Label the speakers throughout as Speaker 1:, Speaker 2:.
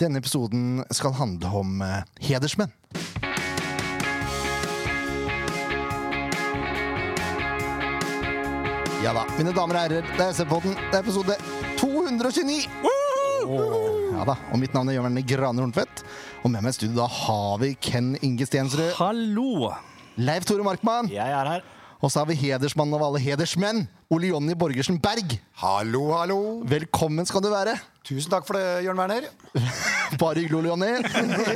Speaker 1: Denne episoden skal handle om eh, hedersmenn. Ja da, mine damer og herrer, det er SV-podden. Det er episode 229. Ja da, og Mitt navn er Jørn Graner Horntvedt. Og med meg i studio da har vi Ken Inge Stensrud,
Speaker 2: Hallo!
Speaker 1: Leif Tore Markmann,
Speaker 2: Jeg er her.
Speaker 1: og så har vi hedersmannen av alle hedersmenn, Ole Jonny Borgersen Berg.
Speaker 3: Hallo, hallo.
Speaker 1: Velkommen skal du være.
Speaker 3: Tusen takk for det, Jørn Werner.
Speaker 1: Bare hyggelig, Ole Jonny.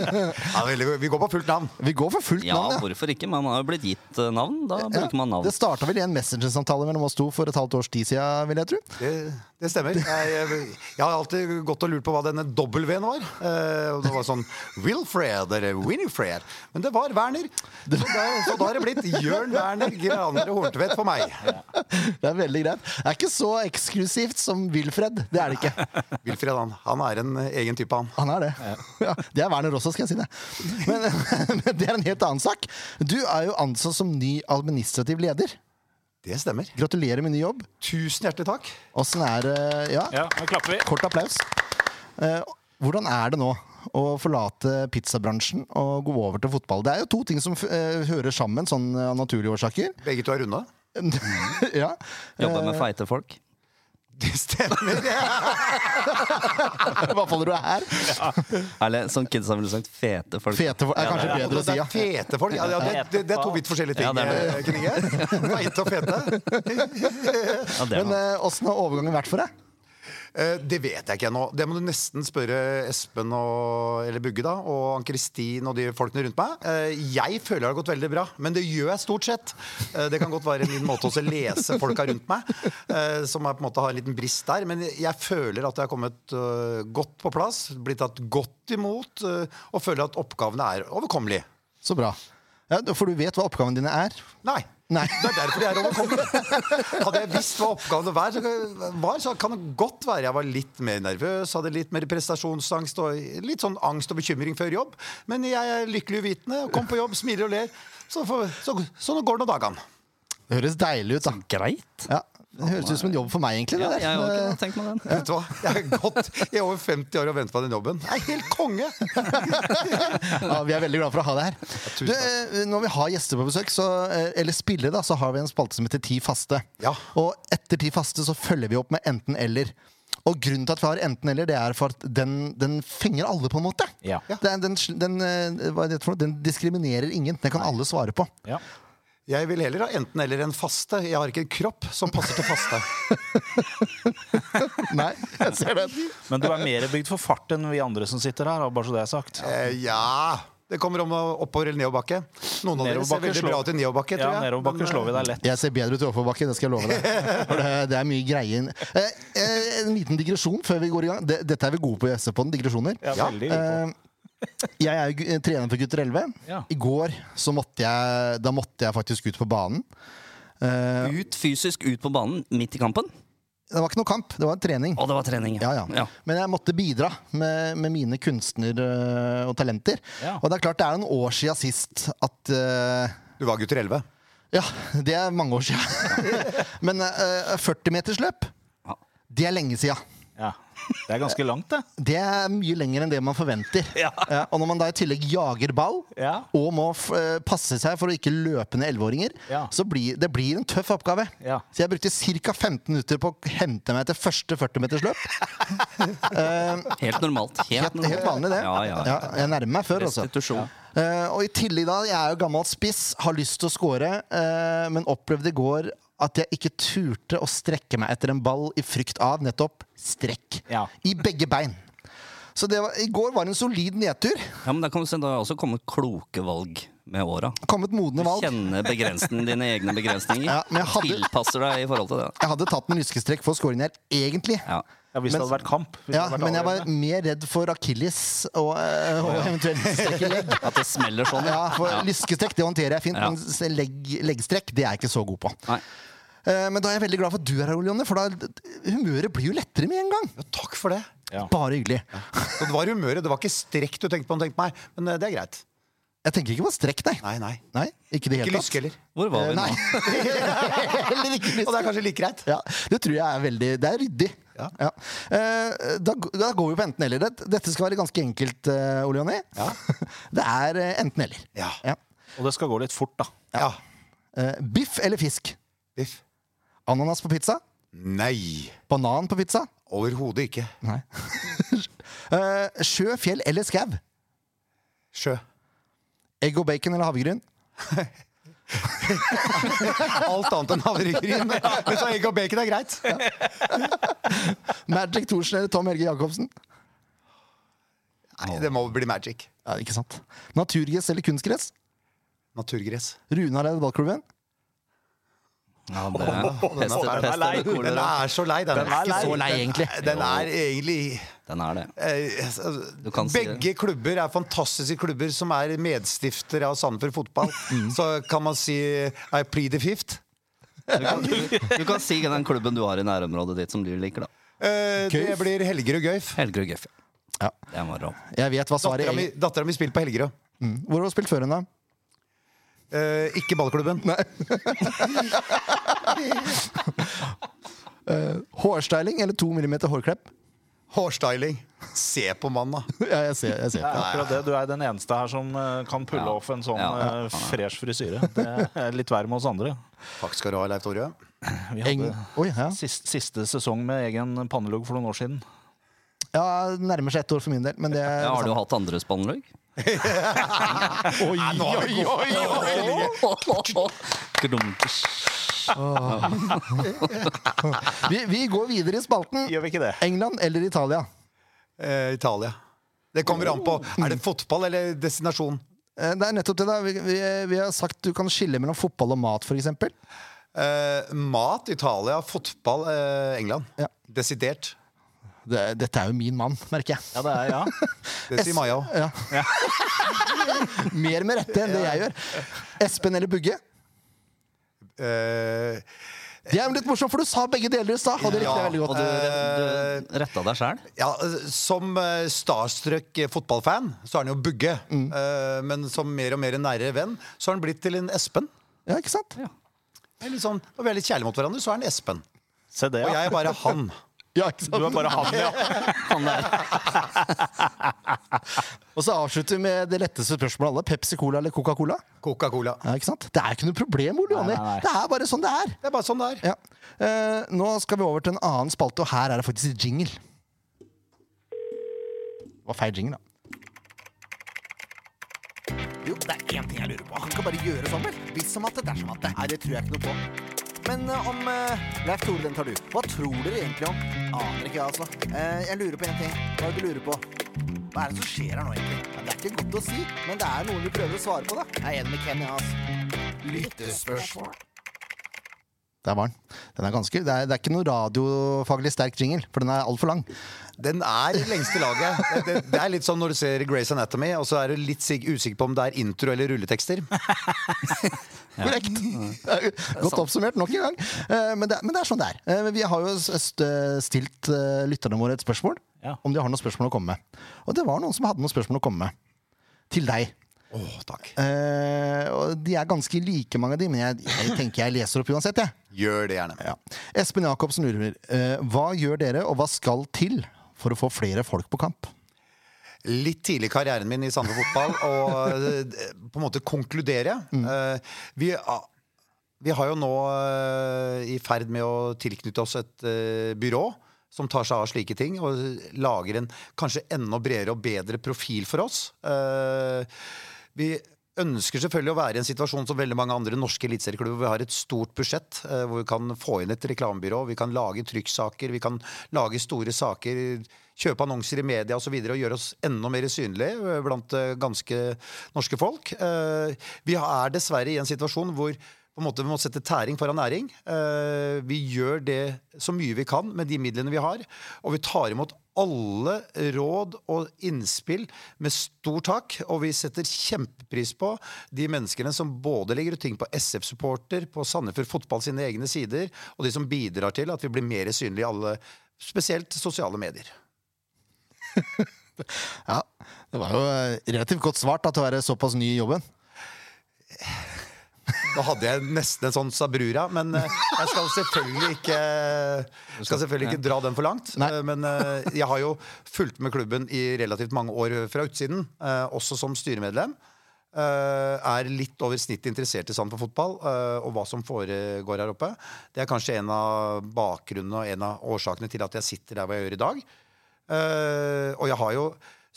Speaker 3: Ja, veldig, vi går på fullt navn.
Speaker 1: Vi går for fullt
Speaker 4: Ja,
Speaker 1: navn, ja.
Speaker 4: hvorfor ikke? Man har jo blitt gitt eh, navn. Da bruker man
Speaker 1: Ja,
Speaker 4: navn.
Speaker 1: det starta vel i en Messenger-samtale mellom oss to for et halvt års tid siden, vil jeg tro.
Speaker 3: Det, det stemmer. Jeg, jeg, jeg har alltid gått og lurt på hva denne W-en var. Eh, og det var sånn Wilfred eller Winifred. Men det var Werner. Så da, så da har det blitt Jørn Werner Graner Horntvedt for meg.
Speaker 1: Det er veldig greit. Det er ikke så eksklusivt som Wilfred. Det er det ikke.
Speaker 3: Wilfred, han, han er en egen type, han.
Speaker 1: Han er det. Ja, det er Werner også, skal jeg si det. Men, men det er en helt annen sak. Du er jo ansatt som ny administrativ leder.
Speaker 3: Det stemmer.
Speaker 1: Gratulerer med ny jobb.
Speaker 3: Tusen hjertelig takk.
Speaker 1: Åssen er det Ja,
Speaker 2: Ja, nå klapper vi.
Speaker 1: kort applaus. Eh, Hvordan er det nå å forlate pizzabransjen og gå over til fotball? Det er jo to ting som eh, hører sammen, sånn av naturlige årsaker.
Speaker 3: Begge to er runde.
Speaker 2: Mm.
Speaker 1: ja.
Speaker 4: Jobber
Speaker 1: Eh,
Speaker 4: med feite folk.
Speaker 3: Det stemmer.
Speaker 1: I hvert fall når du er her.
Speaker 4: Eller som kidsa ville sagt, fete folk.
Speaker 1: Fete folk er kanskje bedre å si,
Speaker 3: Det
Speaker 1: ja.
Speaker 3: er fete folk. Ja, ja, det, det, det er to vidt forskjellige
Speaker 4: Ja,
Speaker 3: ting.
Speaker 4: det er
Speaker 3: eh, Kninge. Feite og fete.
Speaker 4: Ja, det er
Speaker 1: Men
Speaker 4: han.
Speaker 1: eh, åssen har overgangen vært for deg?
Speaker 3: Eh, Det vet jeg ikke ennå. Det må du nesten spørre Espen og, eller Bugge da, og Ann-Kristin og de folkene rundt meg. Eh, Jeg føler det har gått veldig bra, men det gjør jeg stort sett. Eh, Det kan godt være en liten måte også å lese folka rundt meg, eh, som er på en måte har en liten brist der. Men jeg føler at jeg har kommet eh, godt på plass, blitt tatt godt imot, eh, og føler at oppgavene er overkommelige.
Speaker 1: Så bra. Ja, for du vet hva oppgavene dine er?
Speaker 3: Nei.
Speaker 1: Nei.
Speaker 3: Det er derfor jeg er overkommet. Hadde jeg visst hva oppgavene var, så- var, så kan det godt være jeg var litt mer nervøs, hadde litt mer prestasjonsangst og litt sånn angst og bekymring før jobb. Men jeg er lykkelig uvitende, kom på jobb, smiler og ler. Så, får- så, så nå går det noen dagene.
Speaker 1: Det høres deilig ut, da.
Speaker 4: Greit.
Speaker 1: Ja, det høres ut som en jobb for meg, egentlig.
Speaker 4: Ja,
Speaker 1: det
Speaker 4: jeg
Speaker 1: der.
Speaker 4: har ikke tenkt meg den.
Speaker 3: Vet du hva? Jeg har gått i over 50 år og ventet på den jobben. Jeg er helt konge!
Speaker 1: ja, vi er veldig glad for å ha deg her. Du, eh, når vi har gjester på besøk, så, eh, eller spillere, da, så har vi en spalte som heter Ti faste.
Speaker 3: Ja.
Speaker 1: Og etter Ti faste så følger vi opp med enten-eller. Og grunnen til at vi har enten-eller, det er for at den, den fenger alle, på en måte.
Speaker 2: Ja.
Speaker 1: Det er- Den, den, eh, hva er det for noe? den diskriminerer ingen. Den kan alle svare på.
Speaker 2: Ja.
Speaker 3: Jeg vil heller ha enten eller en faste. Jeg har ikke en kropp som passer til faste.
Speaker 1: Nei, jeg ser den.
Speaker 2: Men du er mer bygd for fart enn vi andre som sitter her. bare så det er sagt.
Speaker 3: Eh, ja Det kommer om oppover eller nedoverbakke. Noen av dere ser
Speaker 2: Nedoverbakke
Speaker 3: veldig
Speaker 2: slår-
Speaker 3: bra ut i nedoverbakke,
Speaker 2: Ja,
Speaker 3: tror jeg.
Speaker 2: nedoverbakke
Speaker 3: Men,
Speaker 2: slår vi deg lett.
Speaker 1: Jeg ser bedre ut i overbakke, det skal jeg love deg. For det, det er mye greier. Eh, eh, en liten digresjon før vi går i gang. Det- Dette er vi gode på i SV-podden, digresjoner.
Speaker 3: Ja,
Speaker 2: veldig
Speaker 1: Eh, jeg er jo gu- eh, trener for gutter 11.
Speaker 2: Ja.
Speaker 1: I går så måtte jeg, da måtte jeg faktisk ut på banen. Eh,
Speaker 4: Ut fysisk ut på banen midt i kampen.
Speaker 1: det var ikke noe kamp, det var en trening.
Speaker 4: Og det var trening.
Speaker 1: Ja, ja. Men jeg måtte bidra med, med mine kunstner eh, og talenter.
Speaker 2: Ja.
Speaker 1: Og det er klart det er noen år siden sist at eh,
Speaker 3: Du var gutter 11.
Speaker 1: Ja, det er mange år siden. Men eh, 40-metersløp,
Speaker 4: Ja.
Speaker 1: det er lenge siden.
Speaker 2: Ja. Det er ganske langt, det.
Speaker 1: Det er mye lenger enn det man forventer.
Speaker 2: Ja.
Speaker 1: Ja, og når man da i tillegg jager ball,
Speaker 2: Ja.
Speaker 1: og må f eh, passe seg for å ikke løpe ned 11-åringer,
Speaker 2: Ja.
Speaker 1: så blir det blir en tøff oppgave.
Speaker 2: Ja.
Speaker 1: Så jeg brukte ca. 15 minutter på å hente meg til første 40-metersløp.
Speaker 4: Helt normalt. Helt,
Speaker 1: Helt, helt vanlig, det.
Speaker 4: Ja, ja.
Speaker 1: Ja, jeg nærmer meg før, altså.
Speaker 4: Restitusjon.
Speaker 1: Eh, og i tillegg da, jeg er jo gammel spiss, har lyst til å score, eh, men opplevde i går at jeg ikke turte å strekke meg etter en ball i frykt av nettopp strekk.
Speaker 2: Ja.
Speaker 1: I begge bein. Så det var, i går var det en solid nedtur.
Speaker 4: Ja, men da kan du se, da har også kommet kloke valg med åra.
Speaker 1: Kommet modne valg.
Speaker 4: Kjenne begrensningen, dine egne begrensninger.
Speaker 1: Ja, men jeg hadde-
Speaker 4: Tilpasser deg i forhold til det.
Speaker 1: Jeg hadde tatt en lyskestrekk for scoringen her, egentlig.
Speaker 4: Ja.
Speaker 2: Ja, hvis
Speaker 1: Men-
Speaker 2: det hadde vært kamp. hvis det
Speaker 1: Ja,
Speaker 2: hadde vært
Speaker 1: men jeg var
Speaker 2: avgjørende.
Speaker 1: mer redd for akilles og, eh, og eventuelt strekk i legg.
Speaker 4: At det smeller sånn.
Speaker 1: Ja, for
Speaker 4: Ja.
Speaker 1: Lyskestrekk det håndterer jeg fint,
Speaker 4: Ja.
Speaker 1: men s- legg, leggstrekk det er jeg ikke så god på.
Speaker 4: Nei.
Speaker 1: Eh, Men da er jeg veldig glad for at du er her, Ole Jonny, for da humøret blir jo lettere med en gang.
Speaker 3: Ja, takk for det.
Speaker 2: Ja.
Speaker 1: Bare hyggelig.
Speaker 3: Så det var humøret. Det var ikke strekk du tenkte på, tenkte meg. men eh, det er greit.
Speaker 1: Jeg tenker ikke på strekk, nei.
Speaker 3: Nei, nei.
Speaker 1: Nei, ikke det
Speaker 3: Ikke
Speaker 1: hele tatt.
Speaker 3: lyske heller.
Speaker 4: Hvor var
Speaker 1: Eh,
Speaker 4: vi nå?
Speaker 1: Nei. Heller ikke lyske.
Speaker 3: Og det er kanskje like greit.
Speaker 1: Ja, det tror jeg er veldig Det er ryddig.
Speaker 3: Ja.
Speaker 1: Ja. Eh, da, da går vi på enten-eller. Det- Dette skal være ganske enkelt, eh, Ole Jonny. Det er eh, enten-eller.
Speaker 3: Ja.
Speaker 2: Og det skal gå litt fort, da.
Speaker 3: Ja.
Speaker 1: Eh, biff eller fisk?
Speaker 3: Biff.
Speaker 1: Ananas på pizza?
Speaker 3: Nei.
Speaker 1: Banan på pizza?
Speaker 3: Overhodet ikke.
Speaker 1: Nei. Eh, sjø, fjell eller skau?
Speaker 3: Sjø.
Speaker 1: Egg og bacon eller havregryn?
Speaker 3: Alt annet enn havregryn. Men så egg og bacon er greit.
Speaker 1: Magic Thorsen eller Tom Helge Jacobsen?
Speaker 3: Nei, det må bli magic.
Speaker 1: Ja, ikke sant. Naturgress eller kunstgress?
Speaker 3: Naturgress.
Speaker 1: Runar eller ballklubben?
Speaker 4: Ja, det er
Speaker 3: Den
Speaker 4: Tester-
Speaker 3: er
Speaker 4: tester-
Speaker 3: lei. Den er så lei, den.
Speaker 2: Den er lei.
Speaker 1: Så lei, egentlig.
Speaker 3: Den er egentlig
Speaker 4: Den er det.
Speaker 3: Eh, altså,
Speaker 4: Du kan si
Speaker 3: Begge klubber er fantastiske klubber som er medstiftere av Sandefjord fotball. Så kan man si I plead the fifth.
Speaker 4: Du kan, du kan si den klubben du har i nærområdet ditt som du liker, da.
Speaker 3: Eh, det
Speaker 1: Gøyf.
Speaker 3: blir Helgerud Gøyf.
Speaker 4: Helgerud Gøff.
Speaker 1: Ja.
Speaker 4: Det var rå.
Speaker 1: Jeg vet hva svaret
Speaker 3: Dattera mi,
Speaker 1: er.
Speaker 3: dattera mi spilte på Helgerud.
Speaker 1: Mm. Hvor har du spilt før henne?
Speaker 3: Eh, ikke ballklubben.
Speaker 1: Hårstyling eller to millimeter hårklepp?
Speaker 3: Hårstyling. Se på mannen, da.
Speaker 1: ja, jeg ser, jeg ser.
Speaker 2: Det er akkurat det. Du er den eneste her som eh, kan pulle
Speaker 4: Ja.
Speaker 2: off en sånn
Speaker 4: Ja, ja,
Speaker 2: eh, fresh frisyre. Det er litt verre med oss andre.
Speaker 3: Takk skal du ha, Leif Tore.
Speaker 2: Vi
Speaker 1: Eng...
Speaker 2: hadde
Speaker 1: Oi, ja.
Speaker 2: siste, siste sesong med egen pannelugg for noen år siden.
Speaker 1: ja, nærmer seg ett år for min del, men det er
Speaker 4: Ja, har du
Speaker 1: det
Speaker 4: hatt andre spannløk?
Speaker 3: Nei, nå har vi gått.
Speaker 4: Grumpish.
Speaker 1: samme. vi, vi går videre i spalten.
Speaker 2: Gjør vi ikke det?
Speaker 1: England eller Italia?
Speaker 3: Eh, Italia. Det kommer an på. Er det fotball eller destinasjon?
Speaker 1: Eh, Det er nettopp det. da Vi, vi, vi har sagt du kan skille mellom fotball og mat, f.eks.
Speaker 3: Eh, mat Italia, fotball eh, England.
Speaker 1: Ja.
Speaker 3: Desidert.
Speaker 1: Det, dette er jo min mann, merker jeg.
Speaker 2: Ja, det er ja.
Speaker 3: Det sier Maja òg.
Speaker 1: Ja. Mer med rette enn det jeg gjør. Espen eller Bugge?
Speaker 3: Eh,
Speaker 1: Det er jo litt morsomt, for du sa begge deler i stad. Og det likte jeg veldig
Speaker 4: Og
Speaker 1: godt.
Speaker 4: du, re- du retta deg sjæl?
Speaker 3: Ja, eh, Som eh, starstruck eh, fotballfan så er han jo Bugge. Eh, Men som mer og mer nære venn så har han blitt til en Espen.
Speaker 1: Ja, ikke sant?
Speaker 3: Det er Litt sånn, når vi er litt kjærlige mot hverandre, så er han Espen.
Speaker 2: Se det,
Speaker 3: Og jeg
Speaker 2: ja.
Speaker 3: er bare han.
Speaker 1: Ja, ikke
Speaker 2: Du er
Speaker 1: sant?
Speaker 2: bare han, ja.
Speaker 1: Og så avslutter vi med det letteste spørsmålet av alle. Pepsi Cola eller Coca-Cola?
Speaker 3: Coca-Cola.
Speaker 1: Ja, ikke sant? Det er ikke noe problem, Ole Jonny.
Speaker 2: Nei, nei, nei.
Speaker 1: Det er bare sånn det er.
Speaker 3: Det er bare sånn det er.
Speaker 1: Ja. Eh, nå skal vi over til en annen spalte, og her er det faktisk jingle. Det var feil jingle, da.
Speaker 5: Jo, det er én ting jeg lurer på. Han kan bare gjøre sånn, vel? Hvis som at det, dersom at det. Nei, det tror jeg ikke noe på. Men eh, om uh, Leif Tore, den tar du. Hva tror dere egentlig om? Aner ikke, jeg, altså. Eh, jeg lurer på én ting. Hva er det du lurer på? Hva er det som skjer her nå, egentlig? Ja, det er ikke godt å si, men det er noen vi prøver å svare på, da. Jeg er enig med Kenny, altså. Lyttespørsmål.
Speaker 1: Der var den. Den er ganske, det, er, det er ikke noe radiofaglig sterk jingle, for den er altfor lang.
Speaker 3: Den er i lengste laget. Det, det, det er litt som når du ser Grace Anatomy, og så er du litt sig- usikker på om det er intro eller rulletekster.
Speaker 1: Korrekt! Godt oppsummert nok en gang. Eh, men, det, er- men det er sånn det er. Eh, men vi har jo s- st- stilt eh, lytterne våre et spørsmål
Speaker 2: Ja.
Speaker 1: om de har noen spørsmål å komme med. Og det var noen som hadde noen spørsmål å komme med. Til deg.
Speaker 3: Åh, takk.
Speaker 1: Eh, og de er ganske like, mange av de, men jeg, jeg tenker jeg leser opp uansett, jeg.
Speaker 3: Gjør det gjerne.
Speaker 1: Ja. Espen Jacobsen lurer eh, Hva gjør dere, og hva skal til for å få flere folk på kamp?
Speaker 3: litt tidlig i karrieren min i Sandefjord fotball og eh, på en måte konkludere. Eh, Vi, a- vi har jo nå eh, i ferd med å tilknytte oss et eh, byrå som tar seg av slike ting, og lager en kanskje enda bredere og bedre profil for oss. Eh, Vi ønsker selvfølgelig å være i en situasjon som veldig mange andre norske eliteserieklubber. hvor Vi har et stort budsjett eh, hvor vi kan få inn et reklamebyrå, vi kan lage trykksaker, vi kan lage store saker, kjøpe annonser i media osv. Og, så videre, og gjøre oss enda mer synlige eh, blant eh, ganske norske folk. Eh, Vi er dessverre i en situasjon hvor på en måte Vi må sette tæring foran næring. Eh, Vi gjør det så mye vi kan med de midlene vi har. Og vi tar imot alle råd og innspill med stor takk. Og vi setter kjempepris på de menneskene som både legger ut ting på SF-supporter, på Sandefjord Fotball sine egne sider, og de som bidrar til at vi blir mer synlige i alle, spesielt sosiale medier.
Speaker 1: Ja, Det var jo eh, relativt godt svart da, til å være såpass ny i jobben.
Speaker 3: Nå hadde jeg nesten en sånn sabrura, men eh, jeg skal selvfølgelig ikke Skal selvfølgelig ikke dra den for langt.
Speaker 1: Nei.
Speaker 3: Eh, Men eh, jeg har jo fulgt med klubben i relativt mange år fra utsiden, eh, også som styremedlem. Eh, er litt over snittet interessert i sand for fotball eh, og hva som foregår her oppe. Det er kanskje en av bakgrunnene og en av årsakene til at jeg sitter der hvor jeg gjør i dag. Eh, og jeg har jo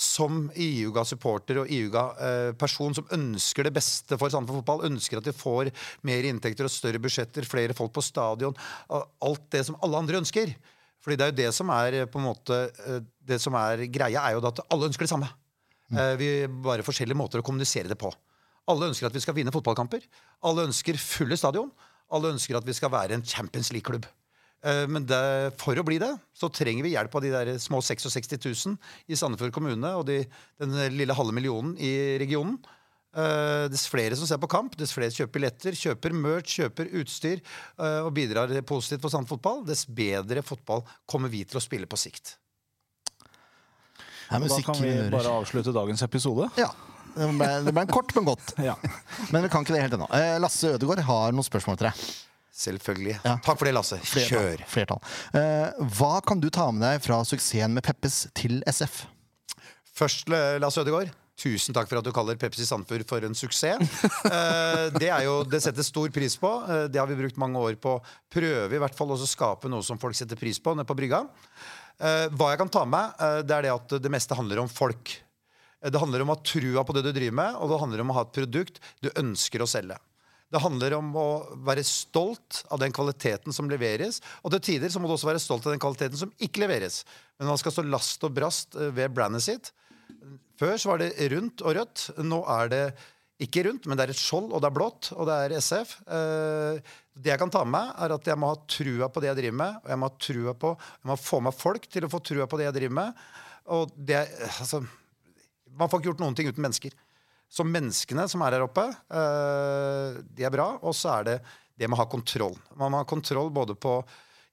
Speaker 3: som IUGA-supporter og IUGA-person eh, som ønsker det beste for Sandefjord fotball, ønsker at de får mer inntekter og større budsjetter, flere folk på stadion, a- alt det som alle andre ønsker. Fordi det er jo det som er eh, på en måte eh, Det som er greia, er jo da at alle ønsker det samme. Eh, Vi Bare forskjellige måter å kommunisere det på. Alle ønsker at vi skal vinne fotballkamper. Alle ønsker fulle stadion. Alle ønsker at vi skal være en Champions League-klubb. Eh, Men det, for å bli det, så trenger vi hjelp av de der små 66 000 i Sandefjord kommune og de, den lille halve millionen i regionen. Eh, dess flere som ser på kamp, dess flere kjøper billetter, kjøper merch, kjøper utstyr eh, og bidrar positivt for Sandefjord fotball, dess bedre fotball kommer vi til å spille på sikt.
Speaker 1: Det er
Speaker 2: Da
Speaker 1: musikk
Speaker 2: kan
Speaker 1: vi
Speaker 2: vi bare
Speaker 1: hører.
Speaker 2: avslutte dagens episode.
Speaker 1: Ja. Det ble, det ble en kort, men godt.
Speaker 2: Ja.
Speaker 1: Men vi kan ikke det helt ennå. Eh, Lasse Ødegaard har noen spørsmål til deg.
Speaker 3: Selvfølgelig.
Speaker 1: Ja.
Speaker 3: Takk for det, Lasse.
Speaker 1: Flertall.
Speaker 3: Kjør!
Speaker 1: Flertall. Eh, hva kan du ta med deg fra suksessen med Peppes til SF?
Speaker 3: Først, eh, Lars Ødegaard. Tusen takk for at du kaller Pepsi Sandefjord for en suksess. Eh, Det er jo, det settes stor pris på. Eh, Det har vi brukt mange år på å prøve i hvert fall også skape noe som folk setter pris på nede på brygga. Eh, Hva jeg kan ta med, eh, det er det at det meste handler om folk. Eh, Det handler om å ha trua på det du driver med, og det handler om å ha et produkt du ønsker å selge. Det handler om å være stolt av den kvaliteten som leveres. Og til tider så må du også være stolt av den kvaliteten som ikke leveres. Men man skal stå last og brast eh, ved brandet sitt. Før så var det rundt og rødt. Nå er det ikke rundt, men det er et skjold, og det er blått, og det er SF. Eh, Det jeg kan ta med meg, er at jeg må ha trua på det jeg driver med. Og jeg må ha trua på, jeg må få med folk til å få trua på det jeg driver med. Og det, altså, man får ikke gjort noen ting uten mennesker. Så menneskene som er her oppe, eh, de er bra. Og så er det det med å ha kontroll. Man må ha kontroll både på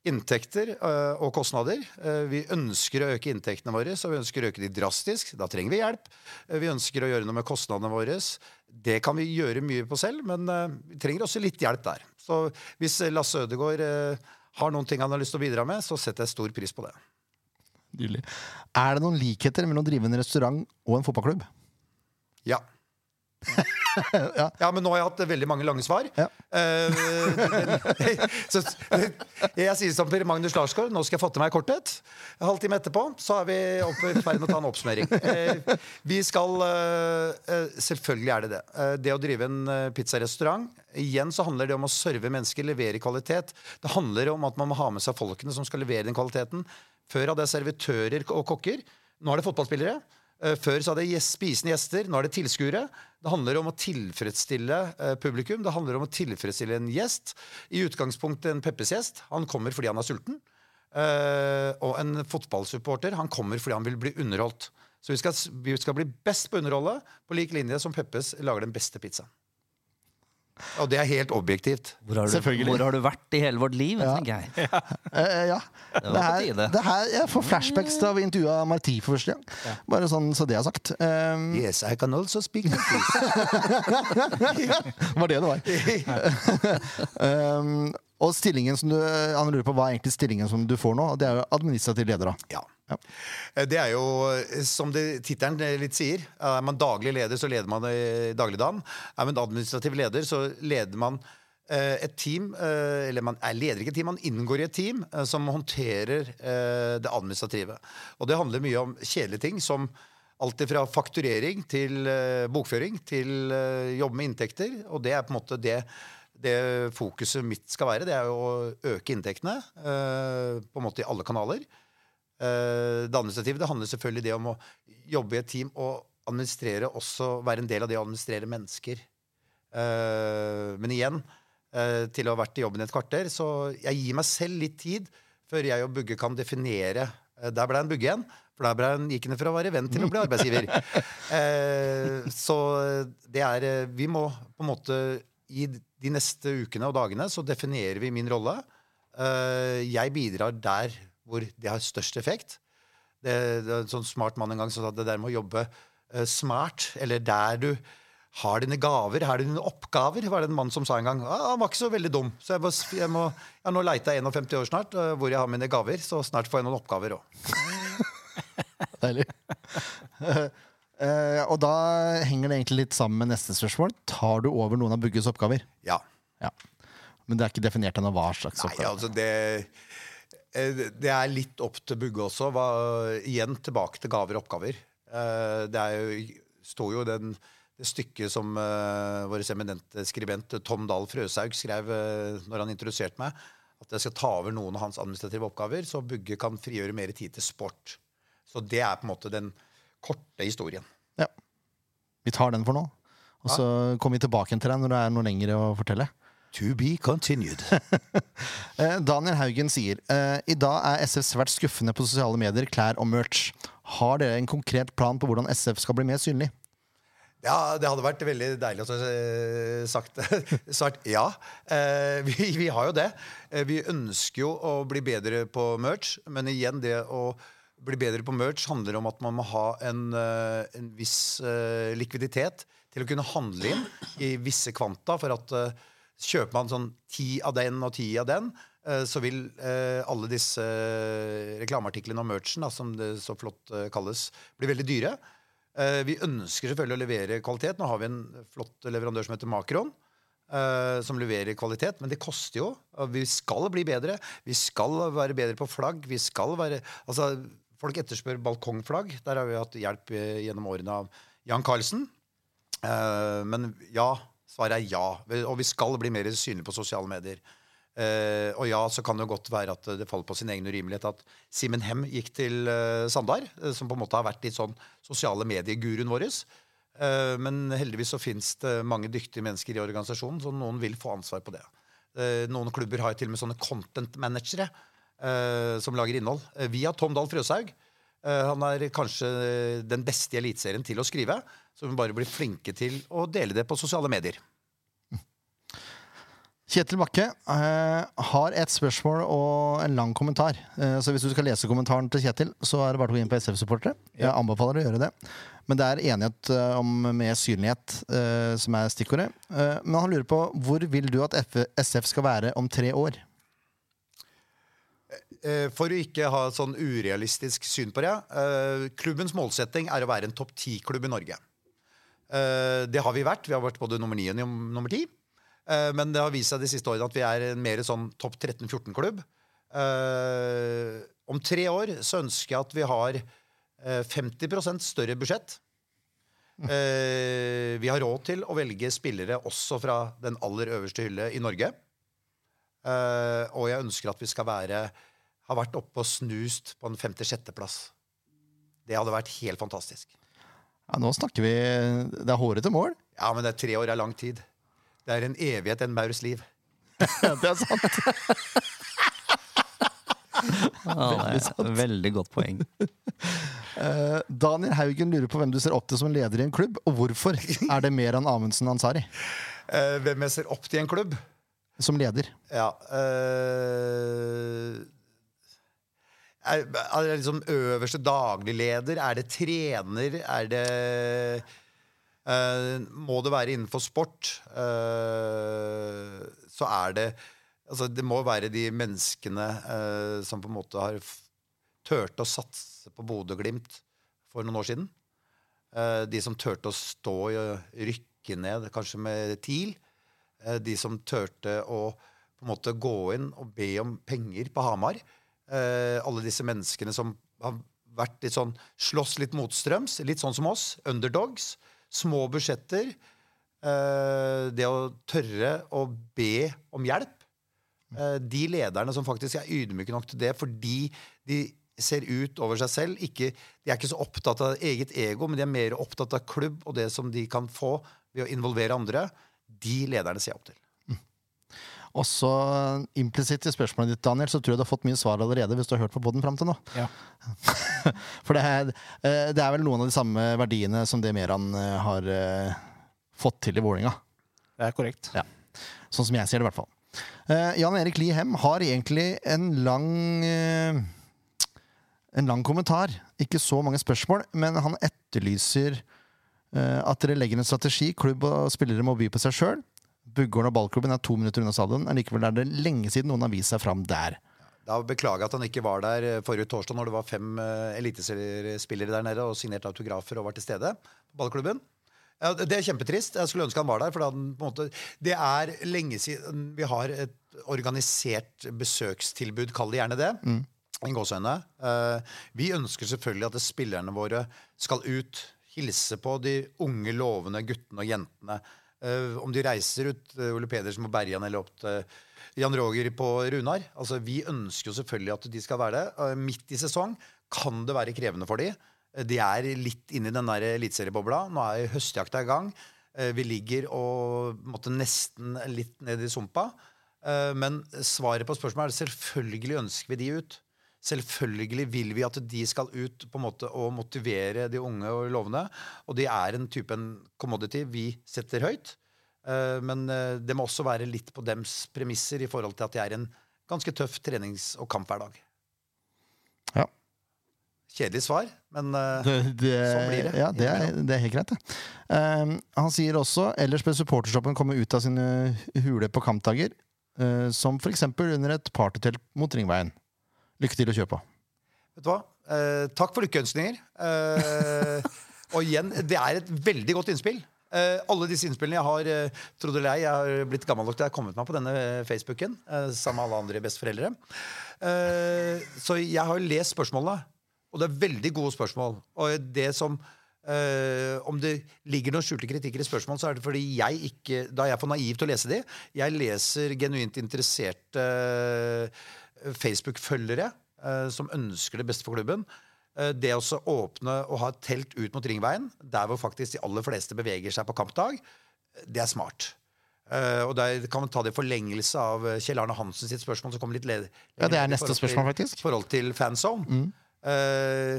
Speaker 3: inntekter eh, og kostnader. Eh, vi ønsker å øke inntektene våre, så vi ønsker å øke de drastisk. Da trenger vi hjelp. Eh, vi ønsker å gjøre noe med kostnadene våre. Det kan vi gjøre mye på selv, men eh, vi trenger også litt hjelp der. Så hvis Lasse Ødegaard eh, har noen ting han har lyst til å bidra med, så setter jeg stor pris på det.
Speaker 1: Nydelig. Er det noen likheter mellom å drive en restaurant og en fotballklubb?
Speaker 3: Ja. ja. men nå har jeg hatt veldig mange lange svar.
Speaker 1: Ja.
Speaker 3: Eh, så, jeg sier som Per Magnus Larsgaard, nå skal jeg fatte meg i korthet. En halvtime etterpå så er vi opp- i ferd med å ta en oppsummering. Eh, vi skal eh, eh, Selvfølgelig er det det. Eh, det å drive en eh, pizzarestaurant Igjen så handler det om å serve mennesker, levere kvalitet. Det handler om at man må ha med seg folkene som skal levere den kvaliteten. Før hadde jeg servitører og kokker. Nå er det fotballspillere. Eh, Før så hadde jeg gjest- spisende gjester, nå er det tilskuere. Det handler om å tilfredsstille eh, publikum, det handler om å tilfredsstille en gjest. I utgangspunktet en Peppes-gjest. Han kommer fordi han er sulten. Eh, og en fotballsupporter han kommer fordi han vil bli underholdt. Så vi skal, s- vi skal bli best på å underholde, på lik linje som Peppes lager den beste pizzaen. Og det er helt objektivt.
Speaker 4: Hvor har, du,
Speaker 1: Selvfølgelig.
Speaker 4: hvor har du vært i hele vårt liv? tenker jeg.
Speaker 1: Eh, ja. Det,
Speaker 4: var på
Speaker 1: her,
Speaker 4: tide.
Speaker 1: det her, jeg får flashbacks da vi intervjua Marti for første gang. Bare sånn så det er sagt. Um,
Speaker 3: Yes, I can also speak English.
Speaker 1: Det var det det var. um, og stillingen som du Han lurer på hva er egentlig stillingen som du får nå. Det er jo administrativ leder, da.
Speaker 3: Ja.
Speaker 1: Ja.
Speaker 3: Eh, Det er jo, eh, som det- tittelen eh, litt sier, er man daglig leder, så leder man i dagligdagen. Er man administrativ leder, så leder man eh, et team eh, Eller man er leder ikke et team, man inngår i et team eh, som håndterer eh, det administrative. Og det handler mye om kjedelige ting som Alt fra fakturering til eh, bokføring til eh, jobb med inntekter. Og det er på en måte det, det fokuset mitt skal være. Det er jo å øke inntektene eh, på en måte i alle kanaler. Eh, Det administrative det handler selvfølgelig det om å jobbe i et team og administrere også, være en del av det å administrere mennesker. Eh, Men igjen, eh, til å ha vært i jobben i et kvarter, så jeg gir meg selv litt tid før jeg og Bugge kan definere. Eh, Der ble han Bugge igjen, for der ble han, gikk han fra å være venn til å bli arbeidsgiver. Eh, Så det er eh, Vi må på en måte i de neste ukene og dagene så definerer vi min rolle. Eh, jeg bidrar der hvor det har størst effekt. Det, det er En sånn smart mann en gang som sa at det der med å jobbe eh, smart, eller der du Har dine gaver, har dine oppgaver, var det en mann som sa en gang. Ah, han var ikke så veldig dum. Så jeg, må, jeg må ja, Nå leiter jeg 51 år snart, eh, hvor jeg har mine gaver. Så snart får jeg noen oppgaver òg.
Speaker 1: Deilig. Eh, og da henger det egentlig litt sammen med neste spørsmål. Tar du over noen av Bugges oppgaver?
Speaker 3: Ja.
Speaker 1: Ja. Men det er ikke definert ennå hva slags
Speaker 3: Nei,
Speaker 1: oppgave.
Speaker 3: altså det eh, Det er litt opp til Bugge også. Hva, igjen tilbake til gaver og oppgaver. Eh, Det er jo, står jo den, det stykket som eh, vår eminente skribent Tom Dahl Frøshaug skrev eh, når han introduserte meg, at jeg skal ta over noen av hans administrative oppgaver, så Bugge kan frigjøre mer tid til sport. Så det er på en måte den korte historien.
Speaker 1: Ja. Vi tar den for nå. Og så kommer vi tilbake igjen til deg når det er noe lengre å fortelle.
Speaker 3: To be continued.
Speaker 1: Eh, Daniel Haugen sier eh, I dag er SF svært skuffende på sosiale medier, klær og merch. Har dere en konkret plan på hvordan SF skal bli mer synlig?
Speaker 3: Ja, det hadde vært veldig deilig å så, eh, sagt, svart ja. Eh, vi, vi har jo det. Eh, vi ønsker jo å bli bedre på merch, men igjen, det å bli bedre på merch handler om at man må ha en, eh, en viss eh, likviditet til å kunne handle inn i visse kvanta, for at eh, kjøper man sånn ti av den og ti av den, eh, så vil eh, alle disse eh, reklameartiklene og merchen, da, som det så flott eh, kalles, bli veldig dyre. Eh, Vi ønsker selvfølgelig å levere kvalitet. Nå har vi en flott leverandør som heter Makron. eh, som leverer kvalitet, men det koster jo. Og Vi skal bli bedre. Vi skal være bedre på flagg. Vi skal være Altså, folk etterspør balkongflagg. Der har vi hatt hjelp eh, gjennom årene av Jan Carlsen. Eh, men ja. Svaret er ja. Vi- Og vi skal bli mer synlige på sosiale medier. Eh, og ja, så kan det jo godt være at det faller på sin egen urimelighet at Simen Hem gikk til eh, Sandar, eh, som på en måte har vært litt sånn sosiale medieguruen vår. Eh, men heldigvis så fins det mange dyktige mennesker i organisasjonen, så noen vil få ansvar på det. Eh, noen klubber har jo til og med sånne content managere eh, som lager innhold. Eh, vi har Tom Dahl Frøshaug. Eh, Han er kanskje eh, den beste i Eliteserien til å skrive. Så vi må bare bli flinke til å dele det på sosiale medier.
Speaker 1: Kjetil Bakke eh, har et spørsmål og en lang kommentar. Eh, så hvis du skal lese kommentaren til Kjetil, så er det bare å gå inn på SF-supportere. Jeg anbefaler å gjøre det. Men det er enighet eh, om mer synlighet eh, som er stikkordet. Eh, men han lurer på hvor vil du at F SF skal være om tre år?
Speaker 3: Eh, For å ikke ha sånn urealistisk syn på det eh, Klubbens målsetting er å være en topp ti-klubb i Norge. Eh, Det har vi vært. Vi har vært både nummer ni og num- nummer ti. Eh, Men det har vist seg de siste årene at vi er en mer sånn topp 13-14-klubb. Om tre år så ønsker jeg at vi har eh, 50 større budsjett. Eh, Vi har råd til å velge spillere også fra den aller øverste hylle i Norge. Eh, og jeg ønsker at vi skal være Har vært oppe og snust på en femte-sjetteplass. Det hadde vært helt fantastisk.
Speaker 1: Ja, nå snakker vi eh, Det er hårete mål.
Speaker 3: Ja, men det er tre år er lang tid. Det er en evighet, en maurs liv.
Speaker 1: det er sant.
Speaker 4: Ja, det er veldig godt poeng.
Speaker 1: Eh, Daniel Haugen lurer på hvem du ser opp til som leder i en klubb, og hvorfor er det mer enn Amundsen Ansari
Speaker 3: Eh, hvem jeg ser opp til i en klubb?
Speaker 1: som leder?
Speaker 3: Ja eh, er, er det liksom øverste daglig leder? Er det trener? Er det eh, Må det være innenfor sport? eh, så er det Altså, det må være de menneskene eh, som på en måte har f- tørte å satse på Bodø-Glimt for noen år siden. Eh, de som tørte å stå i og rykke ned, kanskje med TIL. Eh, de som turte å på en måte gå inn og be om penger på Hamar. Eh, alle disse menneskene som har vært litt sånn, slåss litt motstrøms, litt sånn som oss. Underdogs. Små budsjetter. Eh, det å tørre å be om hjelp. Eh, de lederne som faktisk er ydmyke nok til det fordi de ser ut over seg selv. Ikke, de er ikke så opptatt av eget ego, men de er mer opptatt av klubb og det som de kan få ved å involvere andre. De lederne ser jeg opp til.
Speaker 1: Også eh, implisitt i spørsmålet ditt, Daniel, så tror jeg du har fått mye svar allerede hvis du har hørt på podden fram til nå.
Speaker 2: Ja.
Speaker 1: For det er, eh, det er vel noen av de samme verdiene som det Meran eh, har eh, fått til i Vålinga.
Speaker 2: Det er korrekt.
Speaker 1: Sånn som jeg ser det, i hvert fall. Eh, Jan Erik Lihem har egentlig en lang eh, en lang kommentar. Ikke så mange spørsmål, men han etterlyser Eh, At dere legger en strategi, klubb og spillere må by på seg sjøl. Buggården og ballklubben er to minutter unna stadion. Allikevel er det lenge siden noen har vist seg fram der.
Speaker 3: Da beklager jeg at han ikke var der eh, forrige torsdag når det var fem eh, eliteseriespillere der nede og signerte autografer og var til stede på ballklubben. Ja, det er kjempetrist. Jeg skulle ønske han var der. For da hadde han på en måte, det er lenge siden vi har et organisert besøkstilbud, kall det gjerne det. En gåsehøyne. Eh, vi ønsker selvfølgelig at spillerne våre skal ut, hilse på de unge, lovende guttene og jentene. Eh, om de reiser ut eh, Ole Pedersen på Bergen eller opp til Jan Roger på Runar. Altså, vi ønsker jo selvfølgelig at de skal være det. Eh, midt i sesong kan det være krevende for de. Eh, De er litt inni den der eliteseriebobla. Nå er høstjakta i gang. Eh, Vi ligger og på en måte, nesten litt ned i sumpa. Eh, Men svaret på spørsmålet er selvfølgelig ønsker vi de ut. Selvfølgelig vil vi at de skal ut på en måte og motivere de unge og lovende. Og de er en type en commodity vi setter høyt. Eh, Men eh, det må også være litt på dems premisser i forhold til at de er en ganske tøff trenings- og kamphverdag.
Speaker 1: Ja.
Speaker 3: Kjedelig svar, men eh,
Speaker 1: Det,
Speaker 3: Sånn blir det.
Speaker 1: Ja, det er, det er helt greit, det. Ehm, han sier også ellers bør supporterstoppen komme ut av sine huler på kampdager. eh, som f.eks. under et partytelt mot Ringveien. Lykke til å kjøre på.
Speaker 3: Vet du hva? Eh, takk for lykkeønskninger. Eh, og igjen, det er et veldig godt innspill. Eh, alle disse innspillene jeg har eh, trodd eller ei, jeg har blitt gammel nok til jeg har kommet meg på denne eh, Facebooken. Eh, sammen med alle andre besteforeldre. Eh, så jeg har jo lest spørsmålene, og det er veldig gode spørsmål. Og det som eh, Om det ligger noen skjulte kritikker i spørsmål, så er det fordi jeg ikke Da er jeg for naiv til å lese de. Jeg leser genuint interesserte eh, Facebook-følgere eh, som ønsker det beste for klubben. Eh, Det å så åpne og ha et telt ut mot Ringveien, der hvor faktisk de aller fleste beveger seg på kampdag, det er smart. Eh, Og der kan man ta det i forlengelse av eh, Kjell Arne Hansen sitt spørsmål. som kommer litt le-
Speaker 1: Ja, det er
Speaker 3: i
Speaker 1: neste
Speaker 3: forhold til-
Speaker 1: spørsmål, faktisk.
Speaker 3: forhold til fanzone. Eh,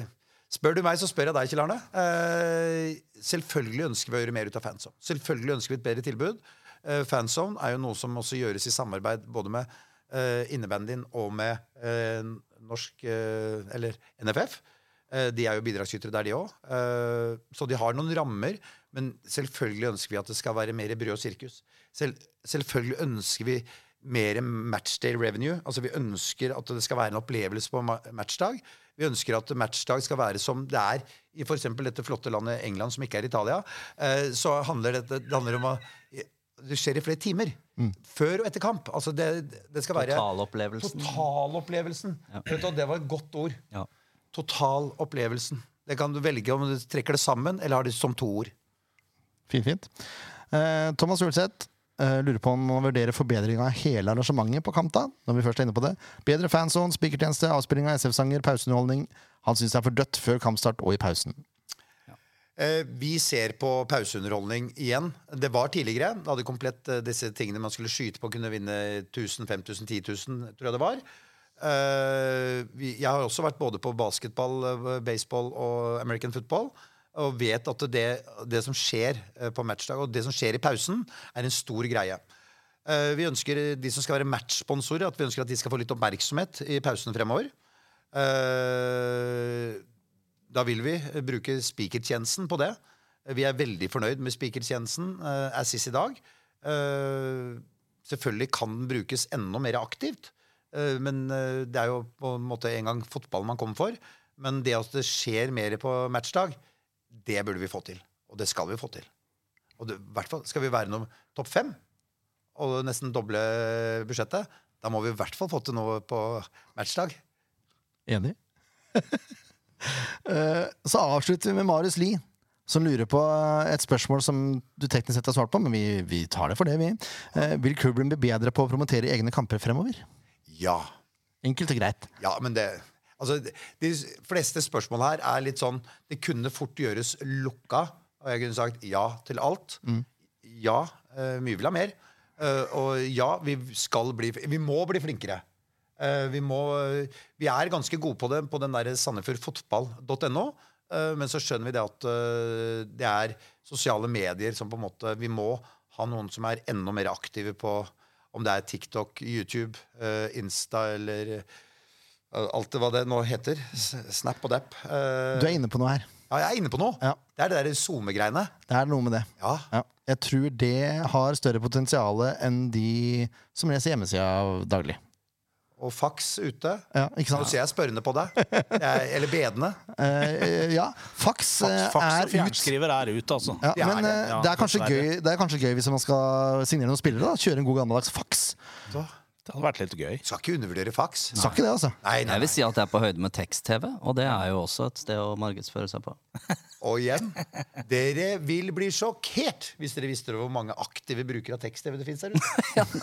Speaker 3: spør du meg, så spør jeg deg, Kjell Arne. Eh, selvfølgelig ønsker vi å gjøre mer ut av fanzone. Selvfølgelig ønsker vi et bedre tilbud. Eh, fanzone er jo noe som også gjøres i samarbeid både med eh, innebandyen og med eh, norsk eh, Eller NFF. Eh, de er jo bidragsytere der, de òg. Eh, så de har noen rammer. Men selvfølgelig ønsker vi at det skal være mer brød og sirkus. Selv, selvfølgelig ønsker vi mer matchday revenue. Altså Vi ønsker at det skal være en opplevelse på ma- matchdag. Vi ønsker at matchdag skal være som det er i f.eks. dette flotte landet England, som ikke er Italia. Eh, så handler dette det handler om å eh, Det skjer i flere timer.
Speaker 4: Mm.
Speaker 3: Før og etter kamp. Altså det, det skal være
Speaker 4: Totalopplevelsen.
Speaker 3: Totalopplevelsen. Vet du hva, Det var et godt ord.
Speaker 4: Ja.
Speaker 3: Totalopplevelsen. Det kan du velge om du trekker det sammen, eller har det som to ord.
Speaker 1: Fint, fint. Eh, Thomas Ulseth eh, lurer på om man vurderer forbedring av hele arrangementet på Kamta. når vi først er inne på det. Bedre fanzone, spikertjeneste, avspilling av SF-sanger, pauseunderholdning. Han syns det er for dødt før kampstart og i pausen.
Speaker 3: Eh, Vi ser på pauseunderholdning igjen. Det var tidligere. Da hadde komplett eh, disse tingene man skulle skyte på, kunne vinne 1000, 5000, 10 000, tror jeg det var. Eh, vi- Jeg har også vært både på basketball, eh, baseball og American football. Og vet at det, det som skjer eh, på matchdag, og det som skjer i pausen, er en stor greie. Eh, Vi ønsker eh, de som skal være matchsponsorer, at vi ønsker at de skal få litt oppmerksomhet i pausen fremover. Eh, da vil vi eh, bruke spikertjenesten på det. Eh, Vi er veldig fornøyd med spikertjenesten uh, Assis i dag. Eh, selvfølgelig kan den brukes enda mer aktivt, eh, men eh, det er jo på en måte en gang fotballen man kommer for. Men det at det skjer mer på matchdag, det burde vi få til. Og det skal vi få til. Og det, i hvert fall skal vi være noe topp fem og nesten doble budsjettet. Da må vi i hvert fall få til noe på matchdag.
Speaker 1: Enig. Eh, Så avslutter vi med Marius Lie, som lurer på eh, et spørsmål som du teknisk sett har svart på, men vi, vi tar det for det, vi. Eh, Vil Krubben bli bedre på å promotere egne kamper fremover?
Speaker 3: Ja.
Speaker 1: Enkelt og greit.
Speaker 3: Ja, men det Altså, de fleste spørsmål her er litt sånn Det kunne fort gjøres lukka, og jeg kunne sagt ja til alt. Ja, eh, mye vil ha mer. Eh, og ja, vi skal bli Vi må bli flinkere. Eh, vi må Vi er ganske gode på det på den der sandefjordfotball.no. eh, men så skjønner vi det at eh, det er sosiale medier som på en måte Vi må ha noen som er enda mer aktive på om det er TikTok, YouTube, eh, Insta eller Alt det hva det nå heter. S- Snap og Dap. Eh,
Speaker 1: Du er inne på noe her.
Speaker 3: Ja, jeg er inne på noe.
Speaker 1: Ja.
Speaker 3: Det er det der SoMe-greiene.
Speaker 1: Det er noe med det.
Speaker 3: Ja.
Speaker 1: Ja. Jeg tror det har større potensial enn de som leser hjemmesida daglig.
Speaker 3: Og fax ute.
Speaker 1: Ja, ikke
Speaker 3: Nå
Speaker 1: sant?
Speaker 3: ser jeg spørrende på deg. Jeg- Eller bedende.
Speaker 1: Eh, ja. Fax, eh,
Speaker 2: Fax, fax og
Speaker 1: er ut.
Speaker 2: fjernskriver er ut, altså.
Speaker 1: Ja,
Speaker 3: Ja,
Speaker 1: men
Speaker 3: det-
Speaker 1: eh,
Speaker 2: ja,
Speaker 1: det, er kanskje
Speaker 2: dessverre.
Speaker 1: gøy, det er kanskje gøy hvis man skal signere noen spillere. da Kjøre en god gammeldags fax.
Speaker 3: Så.
Speaker 2: Det hadde vært litt gøy.
Speaker 3: Skal ikke undervurdere fax.
Speaker 1: Sa ikke det, altså.
Speaker 3: Nei, nei,
Speaker 4: Jeg vil
Speaker 3: nei.
Speaker 4: si at det er på høyde med tekst-TV, og det er jo også et sted å markedsføre seg på.
Speaker 3: Og igjen, dere vil bli sjokkert hvis dere visste hvor mange aktive brukere av tekst-TV det fins der ute. Ja, men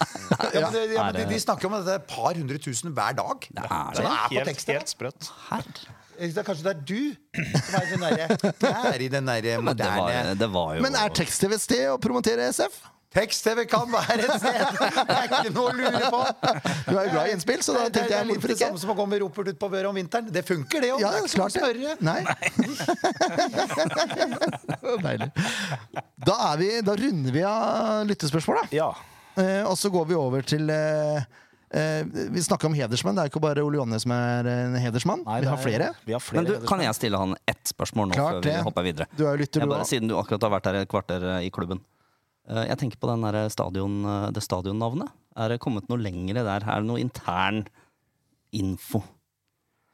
Speaker 3: det- ja, men de, de snakker om dette par hundre tusen hver dag.
Speaker 4: er
Speaker 3: Så
Speaker 4: det.
Speaker 3: er på
Speaker 2: Helt,
Speaker 3: tekst-TV.
Speaker 2: helt sprøtt.
Speaker 4: Herre.
Speaker 3: Jeg synes det er Kanskje det er du som er, i den derre- det er i den derre
Speaker 4: Men det var,
Speaker 3: moderne
Speaker 4: det var jo
Speaker 1: Men er tekst-TV et sted å promotere SF?
Speaker 3: Tekst-TV kan være et sted! Det er ikke noe å lure på.
Speaker 1: Du er jo glad i innspill, så da
Speaker 3: Det-
Speaker 1: tenkte
Speaker 3: det er
Speaker 1: jeg
Speaker 3: litt
Speaker 1: hvorfor
Speaker 3: det
Speaker 1: ikke?
Speaker 3: samme som å gå med ropert ut på børa om vinteren. Det funker, det òg.
Speaker 1: Ja,
Speaker 3: det er ikke
Speaker 1: klart
Speaker 3: noe å spørre.
Speaker 1: det. Nei. Deilig. Da, er vi, da runder vi av lyttespørsmål, da.
Speaker 2: Ja.
Speaker 1: Eh, og så går vi over til eh, eh, Vi snakker om hedersmenn. Det er ikke bare Ole Jonny som er en hedersmann.
Speaker 2: Nei,
Speaker 1: vi
Speaker 2: det
Speaker 1: har
Speaker 2: er-
Speaker 1: flere.
Speaker 2: Vi har flere
Speaker 4: Men du,
Speaker 2: ledere.
Speaker 4: kan jeg stille han ett spørsmål nå
Speaker 1: Klart
Speaker 4: før vi
Speaker 1: det.
Speaker 4: hopper videre?
Speaker 1: Du er jo lytter,
Speaker 4: Jeg
Speaker 1: du
Speaker 4: bare,
Speaker 1: òg.
Speaker 4: siden du akkurat har vært her et kvarter eh, i klubben. Eh, Jeg tenker på den der stadion, eh, det stadionnavnet. Er det kommet noe lengre der? Er det noe intern info?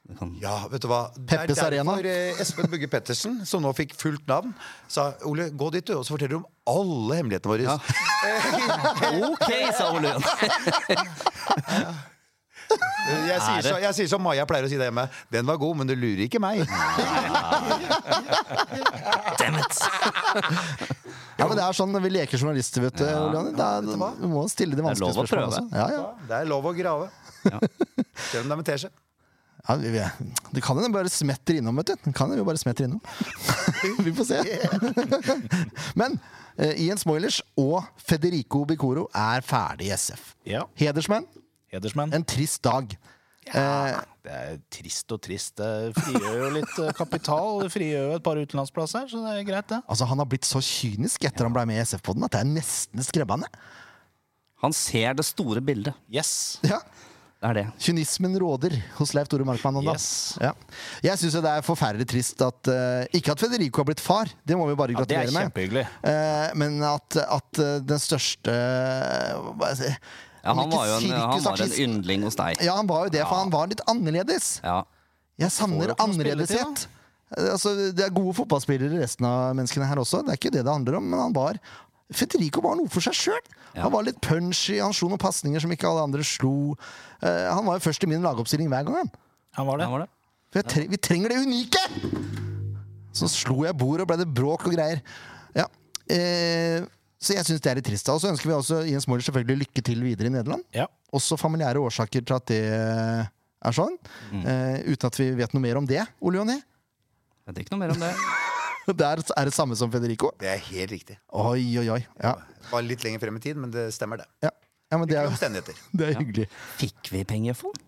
Speaker 4: Det kan...
Speaker 3: Ja, vet du hva?
Speaker 1: Peppes
Speaker 3: det er
Speaker 1: Arena.
Speaker 3: derfor eh, Espen Bugge Pettersen, som nå fikk fullt navn, sa Ole, gå dit du, og så forteller du om alle hemmelighetene våre.
Speaker 4: Ok, sa Ole Jørn.
Speaker 3: Eh, Jeg, sier så, jeg sier som Maja pleier å si der hjemme. Den var god, men du lurer ikke meg.
Speaker 1: Ja, men det er sånn, vi leker journalister, vet du. Ole Jonny. Da- Du må stille de
Speaker 4: er
Speaker 1: vanskelige
Speaker 4: lov å prøve.
Speaker 1: spørsmålene. også. Ja, ja.
Speaker 3: Det er lov å grave. Selv om det er med teskje.
Speaker 1: Ja, vi, vi, det kan hende vi bare smetter innom, vet du. Det kan hende vi bare smetter innom. vi får se. Men eh, Ian Smoilers og Federico Bicoro er ferdig i SF.
Speaker 2: Ja.
Speaker 1: Hedersmenn,
Speaker 2: Hedersmenn.
Speaker 1: en trist dag.
Speaker 2: Det er trist og trist. Det frigjør jo litt eh, kapital. Det frigjør jo et par utenlandsplasser, så det er greit, det.
Speaker 1: Altså, Han har blitt så kynisk etter han ble med i SF-poden at det er nesten skremmende.
Speaker 4: Han ser det store bildet.
Speaker 2: Yes.
Speaker 1: Ja.
Speaker 4: Det er det.
Speaker 1: Kynismen råder hos Leif Tore Markmann. nå, Da.
Speaker 2: Yes.
Speaker 1: Ja. Jeg syns det er forferdelig trist at eh, Ikke at Federico har blitt far, det må vi bare
Speaker 2: Ja, det
Speaker 1: gratulere
Speaker 2: er
Speaker 1: med.
Speaker 2: kjempehyggelig.
Speaker 1: Eh, men at, at eh, den største eh, hva skal jeg si,
Speaker 4: Ja,
Speaker 1: om
Speaker 4: han
Speaker 1: ikke
Speaker 4: var jo en, han var en
Speaker 1: sirkusartist-
Speaker 4: yndling hos deg.
Speaker 1: Ja, han var jo det, for
Speaker 4: Ja.
Speaker 1: han var litt annerledes.
Speaker 4: Ja.
Speaker 1: Jeg
Speaker 2: Får
Speaker 1: savner
Speaker 2: jo ikke noe
Speaker 1: annerledeshet. Eh, Altså, det er gode fotballspillere resten av menneskene her også. Det er ikke det det handler om, men han var Federico var noe for seg sjøl.
Speaker 4: Ja.
Speaker 1: Han var litt punchy, han slo noen pasninger som ikke alle andre slo. Eh, han var jo først i min lagoppstilling hver gang. han.
Speaker 2: Han var det.
Speaker 4: Ja, var det.
Speaker 1: For jeg tre vi trenger det unike! Så slo jeg bordet, og ble det bråk og greier. Ja. Eh, så jeg syns det er litt trist. da. Og så ønsker vi også Jens Møller selvfølgelig lykke til videre i Nederland.
Speaker 2: Ja.
Speaker 1: Også familiære årsaker til at det er sånn. Eh, uten at vi vet noe mer om det, Ole Jonny.
Speaker 4: Jeg vet ikke noe mer om det.
Speaker 1: Det er, er det samme som Federico.
Speaker 3: Det er helt riktig.
Speaker 1: Oi, oi, oi. Ja,
Speaker 3: Bare litt lenger frem i tid, men det stemmer, det.
Speaker 1: ja. ja men det
Speaker 3: Ikke
Speaker 1: er,
Speaker 3: omstendigheter.
Speaker 1: det er hyggelig.
Speaker 4: Fikk vi pengefond?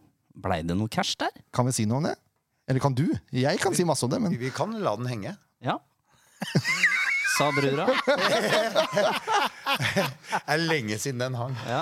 Speaker 4: Blei det noe cash der?
Speaker 1: Kan vi si noe om det? Eller kan du? Jeg kan si masse om det, men
Speaker 3: Vi kan la den henge.
Speaker 4: Ja. Sa brura.
Speaker 3: Det er lenge siden den hang.
Speaker 4: Ja.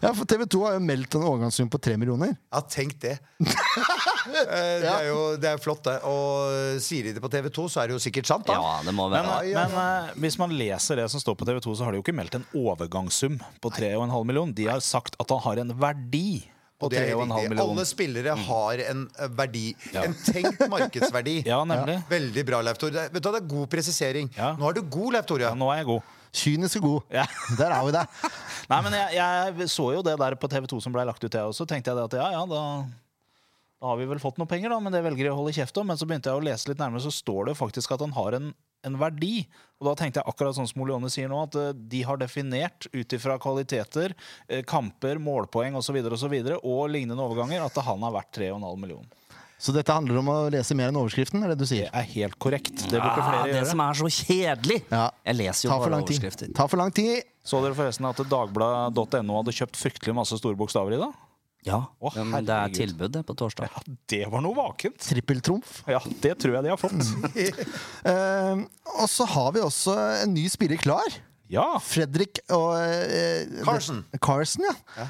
Speaker 1: ja, for TV 2 har jo meldt en overgangssum på tre millioner.
Speaker 3: Ja, tenk det. Eh, Det er jo det er flott, det. Og sier de det på TV 2, så er det jo sikkert sant, da.
Speaker 4: ja, det må
Speaker 2: Men,
Speaker 4: være
Speaker 3: ja, ja.
Speaker 2: men, eh, hvis man leser det som står på TV 2, så har de jo ikke meldt en overgangssum på 3,5 million. De har sagt at han har en verdi på
Speaker 3: Og det er helt
Speaker 2: 3,5
Speaker 3: riktig.
Speaker 2: million. Mm.
Speaker 3: Alle spillere har en eh, verdi. En tenkt markedsverdi.
Speaker 2: Ja, nemlig.
Speaker 3: Veldig bra, Leif Tore. Det- Vet du, hva, det er god presisering.
Speaker 2: Ja.
Speaker 3: Nå er du god, Leif Tore.
Speaker 2: Ja, nå er jeg god.
Speaker 1: Kynisk og god.
Speaker 2: Ja.
Speaker 1: Der har vi det.
Speaker 2: Nei, men jeg, jeg så jo det der på TV 2 som ble lagt ut, jeg også. Tenkte jeg det at ja, ja, da, da har vi vel fått noe penger, da, men det velger de å holde kjeft om. Men så begynte jeg å lese litt nærmere, så står det jo faktisk at han har en, en verdi. Og da tenkte jeg akkurat sånn som Oleone sier nå, at eh, de har definert ut ifra kvaliteter, eh, kamper, målpoeng osv., og, så videre, og lignende overganger, at han er verdt 3,5 millioner.
Speaker 1: Så dette handler om å lese mer enn overskriften, er det du
Speaker 2: Det
Speaker 1: sier?
Speaker 2: er helt korrekt. Det burde
Speaker 4: ah,
Speaker 2: flere
Speaker 4: Det
Speaker 2: gjøre.
Speaker 4: som er så kjedelig!
Speaker 1: Ja.
Speaker 4: Jeg leser jo
Speaker 1: Ta for
Speaker 4: bare
Speaker 1: lang tid.
Speaker 4: overskrifter.
Speaker 1: Ta for lang tid.
Speaker 2: Så dere forresten at Dagbladet.no hadde kjøpt fryktelig masse store bokstaver i dag?
Speaker 4: Ja,
Speaker 2: Å,
Speaker 4: men det er
Speaker 2: herregud.
Speaker 4: tilbud det på torsdag.
Speaker 2: Ja, det var noe vakent.
Speaker 1: Trippeltrumf.
Speaker 2: Ja, det tror jeg de har fått.
Speaker 1: Eh, og så har vi også en ny spiller klar.
Speaker 2: Ja.
Speaker 1: Fredrik og eh,
Speaker 3: Carson.
Speaker 1: Carson, ja.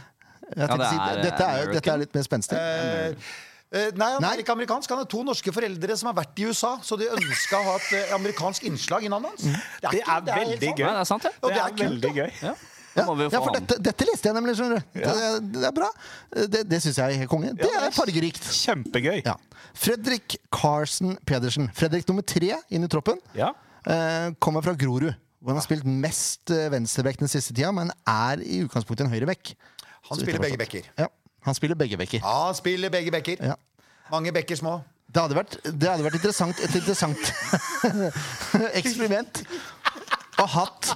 Speaker 1: Jeg tenkte
Speaker 4: det
Speaker 1: å si,
Speaker 4: er eh,
Speaker 1: dette, er, jo- dette er
Speaker 4: American.
Speaker 1: litt mer spenstig.
Speaker 3: Eh, Eh, nei, han
Speaker 1: Nei.
Speaker 3: er ikke amerikansk. Han er to norske foreldre som har vært i USA, så de ønska å ha et eh, amerikansk innslag i navnet hans. Det
Speaker 2: Mm. er
Speaker 3: ikke- helt
Speaker 2: veldig
Speaker 3: sant.
Speaker 2: gøy.
Speaker 4: Nei, det er sant,
Speaker 3: Og
Speaker 4: det.
Speaker 3: det er kult, da.
Speaker 2: veldig gøy.
Speaker 4: Ja,
Speaker 1: Ja,
Speaker 4: Da må vi jo
Speaker 1: ja,
Speaker 4: få
Speaker 1: for
Speaker 4: annen.
Speaker 1: dette, dette leste jeg nemlig, skjønner du. Det, det er bra. Eh, Det, det syns jeg er helt konge. Det er fargerikt.
Speaker 2: Kjempegøy.
Speaker 1: Ja. Fredrik Carson Pedersen. Fredrik nummer tre inn i troppen.
Speaker 2: Ja.
Speaker 1: Eh, kommer fra Grorud. Hvor han har spilt mest eh, venstrebekk den siste tida, men er i utgangspunktet en høyrebekk.
Speaker 3: Han
Speaker 1: Så vidt jeg
Speaker 3: spiller begge
Speaker 1: forstår.
Speaker 3: bekker.
Speaker 1: Ja, han spiller begge bekker.
Speaker 3: Ja, han spiller begge bekker.
Speaker 1: Ja.
Speaker 3: Mange bekker små.
Speaker 1: Det hadde vært, det hadde vært interessant, et interessant eksperiment å hatt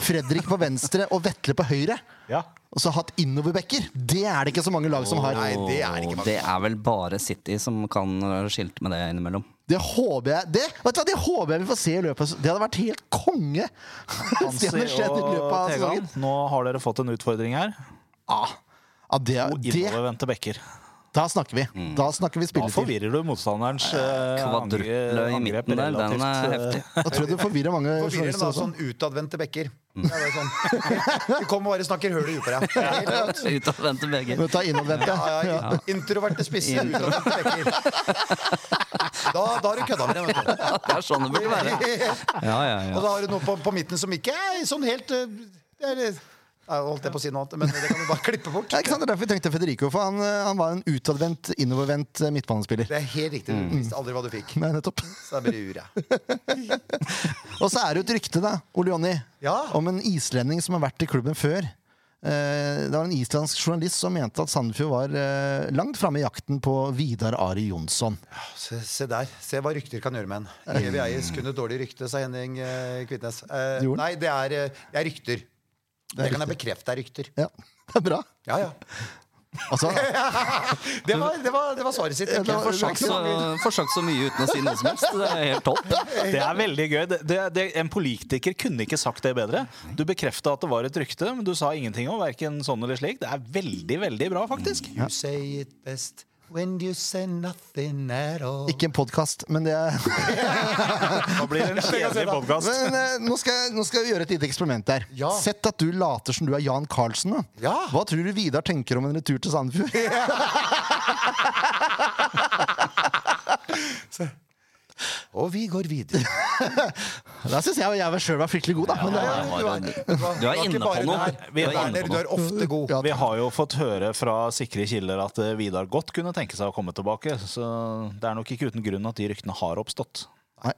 Speaker 1: Fredrik på venstre og Vetle på høyre.
Speaker 2: Ja.
Speaker 1: Og så hatt innoverbekker. Det er det ikke så mange lag som har.
Speaker 3: Nei, det er det ikke
Speaker 4: Og det er vel bare City som kan eh, skilte med det innimellom.
Speaker 1: Det håper jeg det, vet du hva, det håper jeg vi får se i løpet av s- Det hadde vært helt konge! Hvis det hadde skjedd i løpet av
Speaker 2: Tegan,
Speaker 1: sesongen.
Speaker 2: nå har dere fått en utfordring her.
Speaker 1: Ah, ah, det,
Speaker 2: Og
Speaker 1: det,
Speaker 2: innovervendte bekker.
Speaker 1: da snakker vi.
Speaker 3: Mm.
Speaker 1: Da snakker vi
Speaker 2: Da
Speaker 1: spilletid.
Speaker 2: forvirrer du motstanderens eh,
Speaker 4: Kvadruple
Speaker 2: angre-
Speaker 4: i
Speaker 2: angrep
Speaker 4: midten der, den er
Speaker 2: relativt, eh,
Speaker 4: heftig.
Speaker 1: Da tror jeg du forvirrer mange
Speaker 3: Forvirrende
Speaker 1: journalister
Speaker 3: da,
Speaker 1: også.
Speaker 3: sånn utadvendte bekker. Det er bare sånn. Du kommer og bare snakker høl i huet på deg. Det er helt rått.
Speaker 4: Utadvendte begge.
Speaker 1: Men ta innadvendte.
Speaker 3: Ja, ja, ja. Introverte spisser, utadvendte bekker. Da, da har du kødda med dem, vet du.
Speaker 4: Det er sånn det burde være. Ja, ja,
Speaker 3: Og
Speaker 4: ja.
Speaker 3: da har du noe på, på midten som ikke er sånn helt eh, det er, litt- Nei, holdt jeg på å si noe annet, men det kan du bare klippe bort.
Speaker 1: Ja, ikke sant? Det er derfor vi tenkte Federico, for han, eh, han var en utadvendt, innovervendt eh, midtbanespiller.
Speaker 3: Det er helt riktig. Du visste aldri hva du fikk.
Speaker 1: Nei, nettopp.
Speaker 3: Så det blir uret.
Speaker 1: Og så er det jo et rykte, da, Ole Jonny,
Speaker 3: Ja.
Speaker 1: om en islending som har vært i klubben før. Eh, Det var en islandsk journalist som mente at Sandefjord var eh, langt framme i jakten på Vidar Ari Jonsson.
Speaker 3: Se, se der. Se hva rykter kan gjøre med en. Evig eies kunne dårlig rykte, sa Henning eh, Kvitnes. Eh,
Speaker 1: Gjorde han?
Speaker 3: nei, det er, eh, det er rykter. Det, kan jeg bekrefte er rykter.
Speaker 1: Ja, det er bra.
Speaker 3: Ja, ja.
Speaker 1: Altså,
Speaker 3: Det var, det var, det var svaret sitt.
Speaker 1: det var-
Speaker 4: Forsagt så, forsagt så mye uten å si noe som helst. Det er helt topp.
Speaker 2: Det er veldig gøy. Det, det, det, en politiker kunne ikke sagt det bedre. Du bekrefta at det var et rykte, men du sa ingenting om hverken sånn eller slik. Det er veldig, veldig bra, faktisk.
Speaker 3: You say it best when you say nothing at all.
Speaker 1: ikke en podkast, men det er
Speaker 2: Da blir det en kjedelig podkast.
Speaker 1: Men eh, nå, skal jeg, nå skal jeg gjøre et lite eksperiment der.
Speaker 3: Ja.
Speaker 1: Sett at du later som du er Jan Carlsen. Da.
Speaker 3: Ja.
Speaker 1: Hva tror du Vidar tenker om en retur til Sandefjord?
Speaker 3: Og vi går videre.
Speaker 1: Da syns jeg jeg sjøl var fryktelig god, da. Men det,
Speaker 4: Ja,
Speaker 3: Du
Speaker 4: ja,
Speaker 3: er-
Speaker 4: ja.
Speaker 3: du var-
Speaker 4: Du
Speaker 3: du var
Speaker 4: er
Speaker 3: ikke
Speaker 4: inne
Speaker 3: bare
Speaker 4: på noe. Du
Speaker 3: der.
Speaker 4: er
Speaker 3: Berner,
Speaker 4: inne
Speaker 3: du
Speaker 4: på
Speaker 3: er
Speaker 4: noe.
Speaker 3: ofte god.
Speaker 1: Ja.
Speaker 2: Vi har jo fått høre fra sikre kilder at eh, Vidar godt kunne tenke seg å komme tilbake. Så det er nok ikke uten grunn at de ryktene har oppstått.
Speaker 1: nei.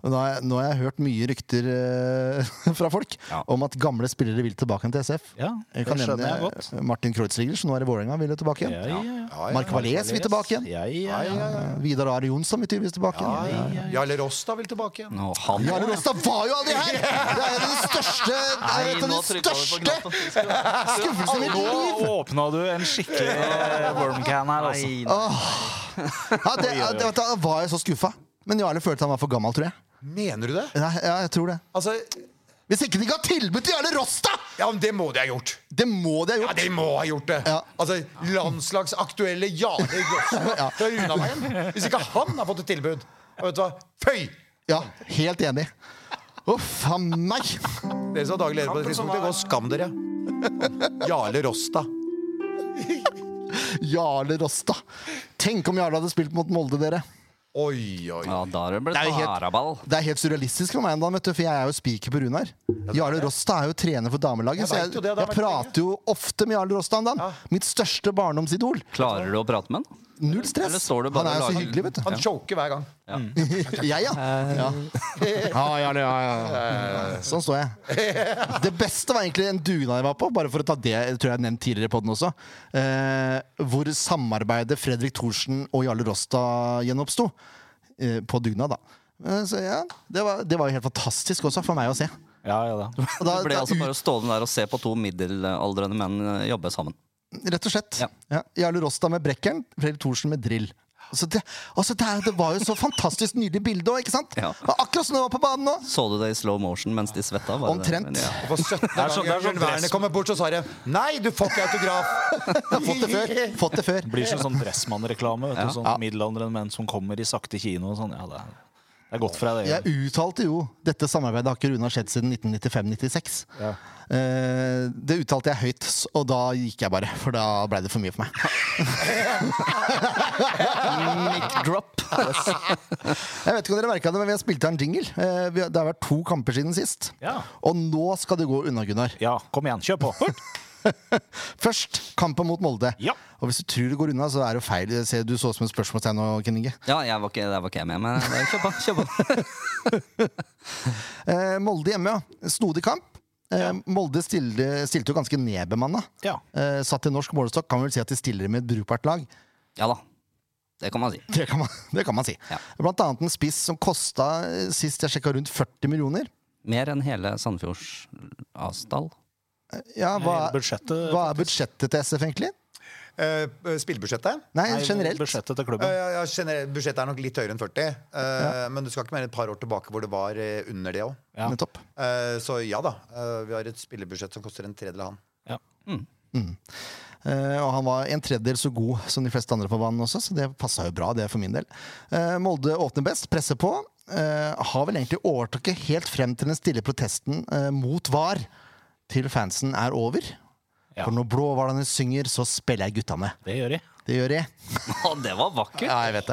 Speaker 1: Men Nå, har jeg, nå har jeg hørt mye rykter eh, fra folk
Speaker 4: Ja.
Speaker 1: om at gamle skillere vil tilbake til SF.
Speaker 2: Ja,
Speaker 1: Jeg kan
Speaker 2: det skjønner jeg
Speaker 1: nevne
Speaker 2: godt.
Speaker 1: Martin Kreutzliger, som nå er i Vålerenga, vil jo tilbake igjen.
Speaker 2: Ja, ja, ja.
Speaker 3: Ja, ja.
Speaker 1: Mark Valais vil tilbake igjen.
Speaker 2: Ja, ja, ja.
Speaker 1: Eh, Vidar Ari Jonsson vil tydeligvis tilbake igjen.
Speaker 3: Ja, ja, ja. Jarle Rosta vil tilbake igjen.
Speaker 4: Nå, han
Speaker 1: Jarle Rostad var jo aldri her! Det er jo den største, det er
Speaker 4: Nei,
Speaker 1: et av
Speaker 4: nå
Speaker 1: de
Speaker 4: trykket vi på
Speaker 1: største
Speaker 4: knappen. Skal vi-
Speaker 1: skuffelsene i mitt liv!
Speaker 2: Nå åpna du en skikkelig eh, wormcan her, altså.
Speaker 4: Nei,
Speaker 1: Ja, det, det, vet du, da var jeg så skuffa. Men Jarle følte han var for gammel, tror jeg.
Speaker 3: Mener du det?
Speaker 1: Ja, ja, jeg tror det
Speaker 3: Altså,
Speaker 1: Hvis ikke de ikke har tilbud til Jarle Ross, da!
Speaker 3: ja, men det må de ha gjort.
Speaker 1: Det må de ha
Speaker 3: Ja,
Speaker 1: gjort.
Speaker 3: de må ha gjort det!
Speaker 1: Ja.
Speaker 3: Altså, Landslagsaktuelle Jarle Jåstad
Speaker 1: Ja.
Speaker 3: fra Unaveien. Hvis ikke han har fått et tilbud. Og vet du hva? Føy!
Speaker 1: Ja, helt enig. Uff a meg.
Speaker 3: Dere som har daglig leder på det tidspunktet, gå og skam dere. Jarle Rosta.
Speaker 1: Jarle Ross, da. Tenk om Jarle hadde spilt mot Molde, dere.
Speaker 3: Oi, oi.
Speaker 4: Ja, da er det blitt
Speaker 1: Det er jo helt-
Speaker 4: haraball.
Speaker 1: Det er helt surrealistisk for meg, enda, vet du, for jeg er jo speaker på Runar. Jarle Rosta er jo trener for damelaget,
Speaker 3: Jeg
Speaker 1: så
Speaker 3: vet
Speaker 1: jeg,
Speaker 3: jo det, det har
Speaker 1: jeg
Speaker 3: vært
Speaker 1: prater jo ofte med Jarle Rosta om dagen. Mitt største barndomsidol.
Speaker 4: Klarer du å prate med han?
Speaker 1: Null
Speaker 4: Eller
Speaker 1: stress.
Speaker 4: står du
Speaker 1: Han
Speaker 4: bare
Speaker 1: er jo
Speaker 4: og
Speaker 1: så
Speaker 4: lager-
Speaker 1: hyggelig, vet du.
Speaker 3: Han choker hver gang.
Speaker 1: Jeg, ja.
Speaker 4: Eh,
Speaker 1: ja. Ja, ja, ja, ja, ja. Sånn står jeg. Det beste var egentlig en dugnad jeg var på, bare for å ta det jeg tror jeg har nevnt tidligere i podden også, eh, hvor samarbeidet Fredrik Thorsen og Jarle Rosta gjenoppsto. Eh, på dugnad, da. Eh, så ja, det var, det var jo helt fantastisk også, for meg å se.
Speaker 2: Ja, ja, da.
Speaker 1: Og da,
Speaker 4: Du ble
Speaker 1: da,
Speaker 4: altså bare stående der og se på to middelaldrende menn eh, jobbe sammen.
Speaker 1: ut- mm, rett og slett.
Speaker 4: Ja.
Speaker 1: Ja. Jarle Rosta med brekkeren, Fredrik Thorsen med drill. Altså det, altså det, er- det var jo så fantastisk nydelig bilde òg, ikke sant?
Speaker 4: Ja.
Speaker 1: Og Akkurat som det var på banen nå.
Speaker 4: Så du det i slow motion mens de svetta? var det det?
Speaker 1: Omtrent.
Speaker 4: Men ja.
Speaker 3: Og for 17.
Speaker 2: er
Speaker 3: gang
Speaker 2: sånn- det er sånn
Speaker 3: Jørn Werner
Speaker 2: dress-
Speaker 3: kommer bort, så svarer jeg nei, du får ikke autograf.
Speaker 1: Fått det før. Fått det før.
Speaker 2: Blir som sånn Dressmann-reklame. vet du, Sånn
Speaker 1: Ja.
Speaker 2: Middelaldrende menn som kommer i sakte kino. og Sånn. Ja, det er Det er godt for deg, det.
Speaker 1: Jeg uttalte jo dette samarbeidet har ikke Runar sett siden 1995-96. Eh, det uttalte jeg høyt, s- og da gikk jeg bare, for da blei det for mye for meg.
Speaker 4: Mic drop.
Speaker 1: Jeg vet ikke om dere merket det, men vi har spilt av en jingle. Eh, vi har, det har vært to kamper siden sist.
Speaker 2: Ja.
Speaker 1: Og nå skal det gå unna, Gunnar.
Speaker 2: Ja, kom igjen. Kjør på. Fort!
Speaker 1: Først kampen mot Molde.
Speaker 2: Ja.
Speaker 1: Og hvis du tror det går unna, så er det jo feil. Jeg ser Du så ut som et spørsmålstegn nå, Ken Inge.
Speaker 4: Ja, jeg var ikke, der var ikke jeg med, men det er- kjør på. Kjør på.
Speaker 1: Eh, Molde hjemme, ja. Snodig kamp. Eh, Molde stilte, stilte jo ganske nedbemanna.
Speaker 2: Ja.
Speaker 1: Eh, satt i norsk målestokk kan vi vel si at de stiller med et brukbart lag.
Speaker 4: Ja da. Det kan man si.
Speaker 1: Det kan man, det kan man si.
Speaker 4: Ja.
Speaker 1: Blant annet en spiss som kosta eh, sist jeg sjekka rundt 40 millioner.
Speaker 4: Mer enn hele Sandefjords avstall.
Speaker 1: Ja, hva,
Speaker 2: Hele budsjettet,
Speaker 1: hva er budsjettet til SF, egentlig?
Speaker 3: Eh, spillebudsjettet?
Speaker 1: Nei,
Speaker 2: Nei,
Speaker 1: generelt.
Speaker 2: Budsjettet til
Speaker 3: Eh,
Speaker 2: klubben.
Speaker 3: ja, generelt, budsjettet er nok litt høyere enn 40, eh, men du skal ikke mer enn et par år tilbake hvor det var eh, under det òg.
Speaker 2: Ja.
Speaker 1: Nettopp.
Speaker 3: så ja da, eh, vi har et spillebudsjett som koster en tredjedel av han.
Speaker 2: Ja.
Speaker 1: Eh, og han var en tredjedel så god som de fleste andre på banen også, så det passa jo bra, det for min del. Eh, Molde åpner best, presser på. Eh, har vel egentlig overtaket helt frem til den stille protesten eh, mot VAR til fansen er over.
Speaker 2: Ja.
Speaker 1: For når blåhvalene synger, så spiller jeg gutta med.
Speaker 2: Det gjør de.
Speaker 1: Det gjør jeg.
Speaker 4: Å, det var vakkert!
Speaker 1: Ja, jeg vet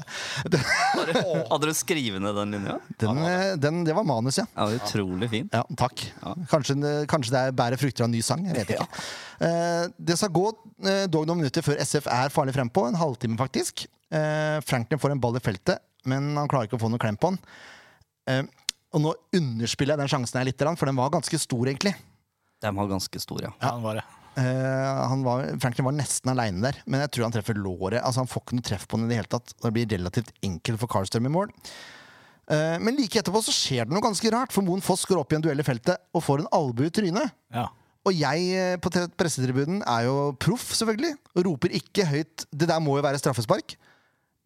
Speaker 1: det.
Speaker 4: Hadde du skrevet ned den linja?
Speaker 1: Den, eh, den, det var manus, ja.
Speaker 4: Ja, utrolig fin.
Speaker 1: Ja, takk. Kanskje, det- kanskje det er bærer frukter av en ny sang. Jeg vet ikke. Eh, det skal gå eh, dog noen minutter før SF er farlig frempå. En halvtime, faktisk. Eh, Franklin får en ball i feltet, men han klarer ikke å få noen klem på den. Eh, og nå underspiller jeg den sjansen her litt, for den var ganske stor, egentlig.
Speaker 4: Den var ganske stor, ja.
Speaker 2: Ja, han var det.
Speaker 1: Eh, han var, Franklin var nesten aleine der, men jeg tror han treffer låret. Altså Han får ikke noe treff på den i det hele tatt. og Det blir relativt enkelt for Karlstrøm i mål. Eh, men like etterpå så skjer det noe ganske rart, for Moen Foss går opp i en duell i feltet og får en albue i trynet.
Speaker 2: Ja.
Speaker 1: Og jeg eh, på te- pressetribunen er jo proff, selvfølgelig, og roper ikke høyt 'det der må jo være straffespark'.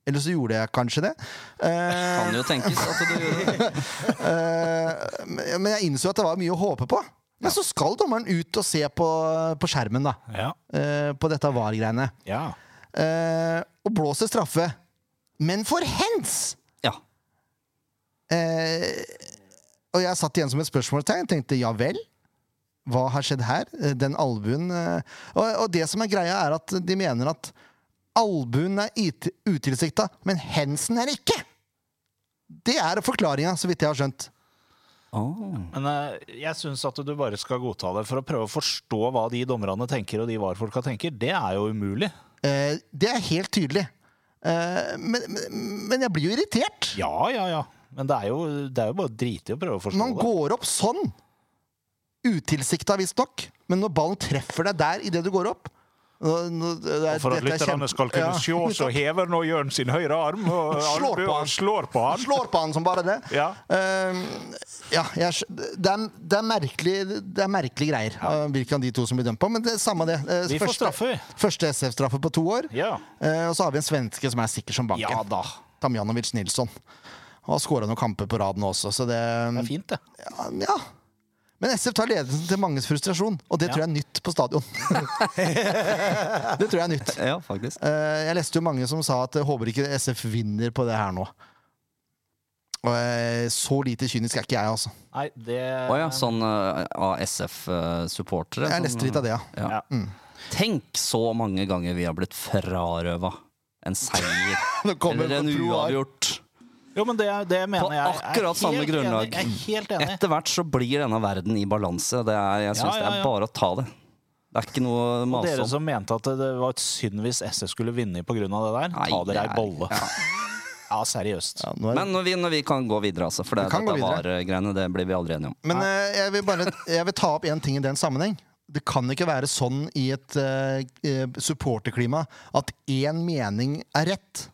Speaker 1: Eller så gjorde jeg kanskje det. Eh,
Speaker 4: Kan jo tenkes at du gjorde det.
Speaker 1: eh, men men jeg innså at det var mye å håpe på. Men så skal dommeren ut og se på, på skjermen, da.
Speaker 2: Ja.
Speaker 1: eh, på dette VAR-greiene.
Speaker 2: ja.
Speaker 1: Eh, og blåser straffe. Men for hands!
Speaker 4: Ja.
Speaker 1: Eh, og jeg satt igjen som et spørsmålstegn. Tenkte ja vel? Hva har skjedd her? Eh, Den albuen eh, og, og det som er greia, er at de mener at albuen er it- utilsikta, men handsen er ikke! Det er forklaringa, så vidt jeg har skjønt.
Speaker 4: Å.
Speaker 2: Men eh, jeg syns at du bare skal godta det. For å prøve å forstå hva de dommerne tenker, og de VAR-folka tenker, det er jo umulig.
Speaker 1: Eh, det er helt tydelig. Eh, men, men, men jeg blir jo irritert.
Speaker 2: Ja, ja, ja. Men det er jo, det er jo bare dritig å prøve å forstå
Speaker 1: Man
Speaker 2: det.
Speaker 1: går opp sånn. Utilsikta, visstnok. Men når ballen treffer deg der idet du går opp nå- nå- det er-
Speaker 2: For
Speaker 1: dette
Speaker 2: at
Speaker 1: er
Speaker 2: lytterne
Speaker 1: kjempe-
Speaker 2: skal kunne
Speaker 1: Ja.
Speaker 2: se, så hever nå Jørn sin høyre arm og
Speaker 1: Slår på
Speaker 2: albu
Speaker 1: han.
Speaker 2: og slår på han.
Speaker 1: Slår på han som bare det.
Speaker 2: Ja.
Speaker 1: Ehm, ja jeg, skj- det, er, det, er merkelig, det er merkelige greier, eh, hvilke av de to som blir dømt på. Men det er samme det. Eh,
Speaker 2: Vi får straffe, vi.
Speaker 1: Første SF-straffe på to år.
Speaker 2: Ja.
Speaker 1: Eh, og så har vi en svenske som er sikker som banken.
Speaker 2: Ja da.
Speaker 1: Damjanovic Nilsson. Han har skåra noen kamper på rad nå også, så
Speaker 2: Det
Speaker 1: det
Speaker 2: er fint, det.
Speaker 1: Ja, ja. Men SF tar ledelsen til manges frustrasjon, og det
Speaker 2: Ja.
Speaker 1: tror jeg er nytt på stadion. det tror jeg er nytt.
Speaker 4: Ja, faktisk.
Speaker 1: Eh, Jeg leste jo mange som sa at jeg håper ikke SF vinner på det her nå. Og eh, så lite kynisk er ikke jeg, altså.
Speaker 2: Nei, det
Speaker 4: Å ja, sånn eh, av SF-supportere.
Speaker 1: Jeg leste litt av det, ja.
Speaker 4: Ja. sånn, eh, Tenk så mange ganger vi har blitt frarøva en seier
Speaker 1: Nå kommer
Speaker 4: eller en
Speaker 1: på pro A.
Speaker 4: uavgjort.
Speaker 2: Jo, men det, det mener
Speaker 4: På
Speaker 2: jeg. Jeg er
Speaker 4: akkurat samme
Speaker 2: helt
Speaker 4: grunnlag.
Speaker 2: enig. Jeg er helt enig.
Speaker 4: Etter hvert så blir denne verden i balanse. Det er, jeg synes
Speaker 2: Ja, ja,
Speaker 4: det
Speaker 2: ja.
Speaker 4: er bare å ta det. Det er ikke noe å
Speaker 2: Og
Speaker 4: mase
Speaker 2: dere
Speaker 4: om.
Speaker 2: som mente at det var et synd hvis SF skulle vinne pga. det der,
Speaker 4: Nei,
Speaker 2: ta dere
Speaker 4: det
Speaker 2: ei
Speaker 4: er-
Speaker 2: bolle.
Speaker 4: ja.
Speaker 2: Ja, seriøst.
Speaker 1: ja nå er
Speaker 4: Men når vi, når vi kan gå videre, altså. For det,
Speaker 1: Vi kan
Speaker 4: dette
Speaker 1: gå videre.
Speaker 4: VAR-greiene det blir vi aldri enige om.
Speaker 1: Men eh, jeg vil bare jeg vil ta opp én ting i den sammenheng. Det kan ikke være sånn i et eh, eh, supporterklima at én mening er rett.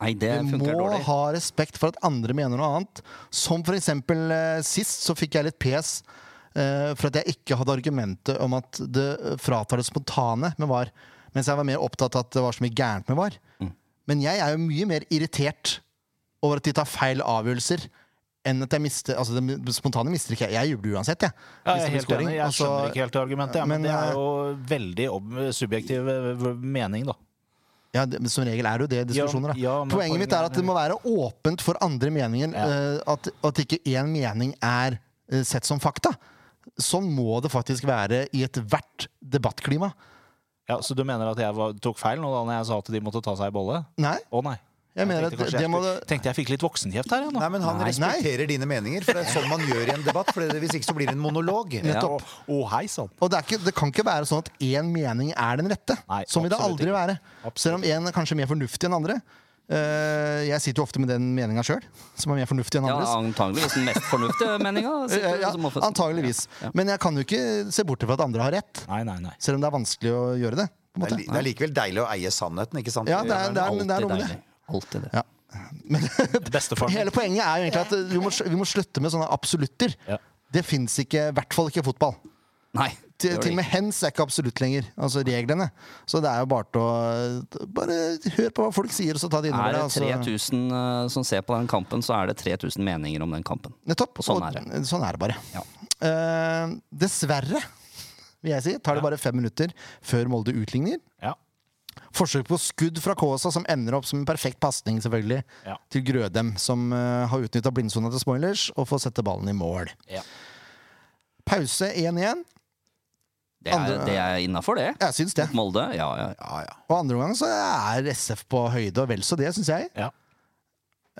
Speaker 4: Nei, det
Speaker 1: Vi må
Speaker 4: funker dårlig.
Speaker 1: ha respekt for at andre mener noe annet. Som for eksempel eh, sist så fikk jeg litt pes eh, for at jeg ikke hadde argumentet om at det fratar det spontane med VAR, mens jeg var mer opptatt av at det var så mye gærent med VAR.
Speaker 2: Mm.
Speaker 1: Men jeg er jo mye mer irritert over at de tar feil avgjørelser enn at jeg mister Altså, det spontane mister ikke jeg. Jeg jubler uansett, jeg.
Speaker 2: Ja,
Speaker 1: Hvis
Speaker 2: jeg
Speaker 1: det
Speaker 2: er
Speaker 1: blir
Speaker 2: helt
Speaker 1: scoring.
Speaker 2: enig. Jeg
Speaker 1: Altså, eh,
Speaker 2: skjønner ikke helt argumentet, ja, men,
Speaker 1: men,
Speaker 2: det
Speaker 1: eh,
Speaker 2: er jo veldig ob subjektiv eh, v- mening, da.
Speaker 1: Ja, det, men Som regel er det jo det i diskusjoner. Da.
Speaker 2: ja, men
Speaker 1: poenget mitt er at det må være åpent for andre meninger. eh, At, at ikke én mening er eh, sett som fakta. Sånn må det faktisk være i ethvert debattklima.
Speaker 2: Ja, Så du mener at jeg var, tok feil nå da når jeg sa at de måtte ta seg i bolle?
Speaker 1: Nei,
Speaker 2: Å nei.
Speaker 1: jeg mener
Speaker 2: tenkte
Speaker 1: at det,
Speaker 2: kanskje jeg
Speaker 1: det må
Speaker 2: skulle-
Speaker 1: det
Speaker 2: Tenkte jeg fikk litt voksenkjeft her, jeg nå.
Speaker 3: Nei, men han
Speaker 1: Nei.
Speaker 3: respekterer dine meninger, for det er sånn man gjør i en debatt. For det- hvis ikke så blir det en monolog.
Speaker 1: Nettopp.
Speaker 2: Å, å, hei sann.
Speaker 1: Og det, er ikke, det kan ikke være sånn at én mening er den rette.
Speaker 2: Nei,
Speaker 1: sånn vil det
Speaker 2: absolutt
Speaker 1: aldri
Speaker 2: ikke.
Speaker 1: være.
Speaker 2: Absolutt.
Speaker 1: Selv om én er kanskje mer fornuftig enn andre. Eh, jeg sitter jo ofte med den meninga sjøl, som er mer fornuftig enn
Speaker 4: Ja,
Speaker 1: andres.
Speaker 4: antageligvis den mest fornuftige meninga.
Speaker 1: Eh, ja, antageligvis. Men jeg kan jo ikke se bort fra at andre har rett,
Speaker 2: Nei, nei, nei.
Speaker 1: selv om det er vanskelig å gjøre det. På en
Speaker 3: Det er,
Speaker 1: måte.
Speaker 3: li- det er likevel deilig å eie sannheten, ikke sant?
Speaker 1: Ja, det er, det er, det er noe med det.
Speaker 4: deilig. Alltid det.
Speaker 1: Ja.
Speaker 2: Bestefaren min.
Speaker 1: Hele poenget er jo egentlig at eh, vi må, vi må slutte med sånne absolutter.
Speaker 2: Ja.
Speaker 1: Det fins ikke, i hvert fall ikke i fotball.
Speaker 4: Nei.
Speaker 1: Til,
Speaker 4: det gjør
Speaker 1: til
Speaker 4: det
Speaker 1: og med hens er ikke absolutt lenger, altså reglene. Så det er jo bare til å Bare hør på hva folk sier, og så ta det
Speaker 4: ikke.
Speaker 1: innover
Speaker 4: Er det
Speaker 1: deg. altså.
Speaker 4: 3000 eh, som ser på den kampen, så er det 3000 meninger om den kampen.
Speaker 1: Nettopp.
Speaker 4: Og sånn
Speaker 1: og
Speaker 4: er
Speaker 1: sånn er det bare.
Speaker 4: Ja.
Speaker 1: Eh, dessverre, vil jeg si, tar det bare fem minutter før Molde utligner.
Speaker 2: Ja.
Speaker 1: Forsøk på skudd fra Kaasa, som ender opp som en perfekt pasning selvfølgelig,
Speaker 2: Ja.
Speaker 1: til Grødem, som eh, har utnytta blindsona til spoilers, og får sette ballen i mål.
Speaker 2: Ja.
Speaker 1: Pause 1-1.
Speaker 4: Det er,
Speaker 1: Andre-
Speaker 4: det er innafor, det.
Speaker 1: Jeg syns det.
Speaker 4: Molde, ja, ja. ja.
Speaker 3: Ja, ja.
Speaker 1: Og andre omgang så er SF på høyde, og vel så det, syns jeg.
Speaker 2: Ja.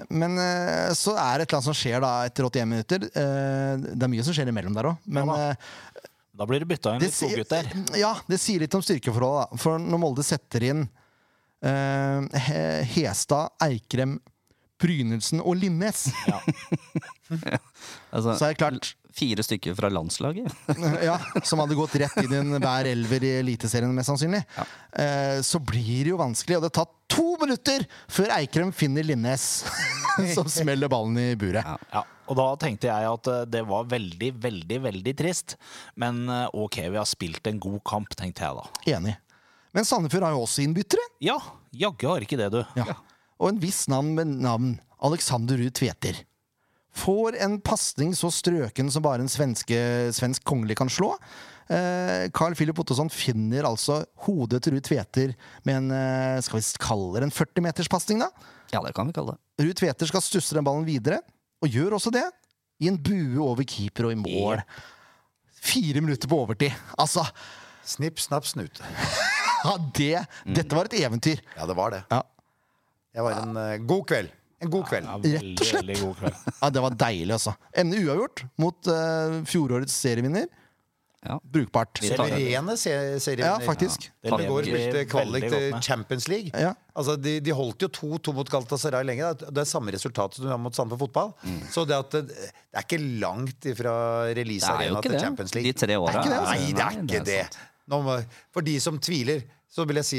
Speaker 1: Men eh, så er det et eller annet som skjer da etter 81 minutter. Eh, det er mye som skjer imellom der òg, men
Speaker 2: Ja da.
Speaker 1: eh,
Speaker 2: Da blir det bytta inn litt
Speaker 1: sier-
Speaker 2: godgutt der.
Speaker 1: Ja, det sier litt om styrkeforholdet. da. For når Molde setter inn eh, He- Hestad, Eikrem, Brynildsen og Linnes,
Speaker 4: Altså,
Speaker 1: så er det klart
Speaker 4: Fire stykker fra landslaget.
Speaker 1: ja, Som hadde gått rett inn i en hver elver i Eliteserien, mest sannsynlig. Eh, så blir det jo vanskelig, og det tar to minutter før Eikrem finner Linnes, som smeller ballen i buret.
Speaker 4: Ja.
Speaker 2: Ja, og da tenkte jeg at eh, det var veldig, veldig, veldig trist. Men eh, OK, vi har spilt en god kamp, tenkte jeg da.
Speaker 1: Enig. Men Sandefjord har jo også innbyttere.
Speaker 2: Ja, jaggu har ikke det, du.
Speaker 1: Ja. Og en viss navn med navn Alexander Ruud Tveter. Får en pasning så strøken som bare en svenske, svensk kongelig kan slå. Eh, Carl Philip Ottosson finner altså hodet til Ruud Tveter med en eh, skal vi kalle det en 40-meterspasning, da.
Speaker 4: Ja, det kan vi kalle det.
Speaker 1: Ruud Tveter skal stusse den ballen videre, og gjør også det. I en bue over keeper og i mål. Fire minutter på overtid. Altså,
Speaker 3: Snipp, snapp, snute.
Speaker 1: ja, det, dette var et eventyr.
Speaker 3: Ja, det var det.
Speaker 1: Ja.
Speaker 3: Det var en eh, god kveld. En god kveld.
Speaker 2: Ja,
Speaker 1: Rett og
Speaker 2: veldig,
Speaker 1: slett.
Speaker 2: veldig god kveld.
Speaker 1: Ja, det var deilig, altså. Ender uavgjort mot eh, fjorårets serievinner.
Speaker 4: Ja.
Speaker 1: Brukbart.
Speaker 4: Vi tar det.
Speaker 3: Rene se- serien.
Speaker 1: Ja, faktisk.
Speaker 3: I
Speaker 2: Det
Speaker 3: går
Speaker 2: lever vi
Speaker 3: spilte kvalik
Speaker 2: veldig godt
Speaker 3: til
Speaker 2: med.
Speaker 3: Champions League.
Speaker 1: Ja.
Speaker 3: Altså, de, de holdt jo 2-2 mot Galatasaray lenge. da. Det er samme resultat som du har mot Sandefjord fotball. Så det, at, det det er ikke langt fra
Speaker 4: Det er jo
Speaker 3: release-arena
Speaker 4: ikke
Speaker 3: til
Speaker 4: det.
Speaker 3: Champions League.
Speaker 4: De tre åra.
Speaker 1: ikke det, altså.
Speaker 3: Nei, det er ikke det. Nå må, for de som tviler, så vil jeg si,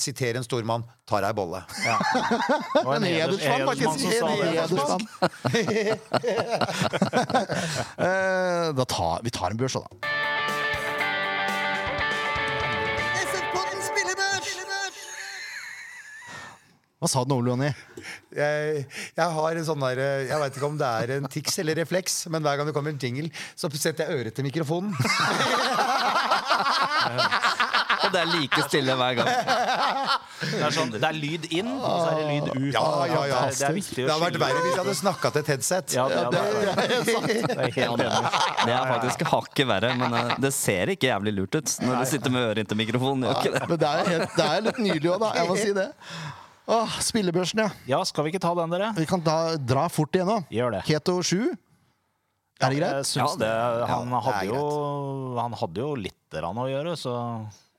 Speaker 3: sitere en stor mann. Tar ei bolle.
Speaker 2: Det var
Speaker 1: En hedersmann, faktisk.
Speaker 2: som sa
Speaker 1: En
Speaker 2: det.
Speaker 1: hedersmann. Eh, da tar, vi tar en børs, da.
Speaker 5: SF-podden spillebørs!
Speaker 1: Hva sa du nå, Ole Jonny?
Speaker 3: Jeg, jeg har en sånn der Jeg veit ikke om det er en tics eller refleks, men hver gang det kommer en jingle, så setter jeg øret til mikrofonen.
Speaker 4: Og det er like stille hver gang.
Speaker 2: Det er, sånn, det er lyd inn, og så er det lyd ut.
Speaker 3: Ja, ja, ja.
Speaker 2: Det, er, det er viktig å
Speaker 3: Det hadde vært
Speaker 2: skille.
Speaker 3: verre hvis jeg hadde snakka til et headset.
Speaker 2: Ja, det, hadde vært verre. det er
Speaker 4: Ja,
Speaker 2: helt
Speaker 4: det,
Speaker 2: enig.
Speaker 4: det er faktisk hakket verre, men eh, det ser ikke jævlig lurt ut når du sitter med øret inntil mikrofonen. Gjør ikke det?
Speaker 1: Men det er, jo helt, det er litt nydelig òg, da. Jeg må si det. Åh, spillebørsen, ja.
Speaker 2: Ja, skal vi ikke ta den, dere?
Speaker 1: Vi kan da, dra fort igjennom.
Speaker 2: Gjør det.
Speaker 1: Keto 7. Er det
Speaker 2: Jeg
Speaker 1: greit?
Speaker 2: syns det, han,
Speaker 3: det er
Speaker 2: hadde jo, han hadde jo litt rann å gjøre, så,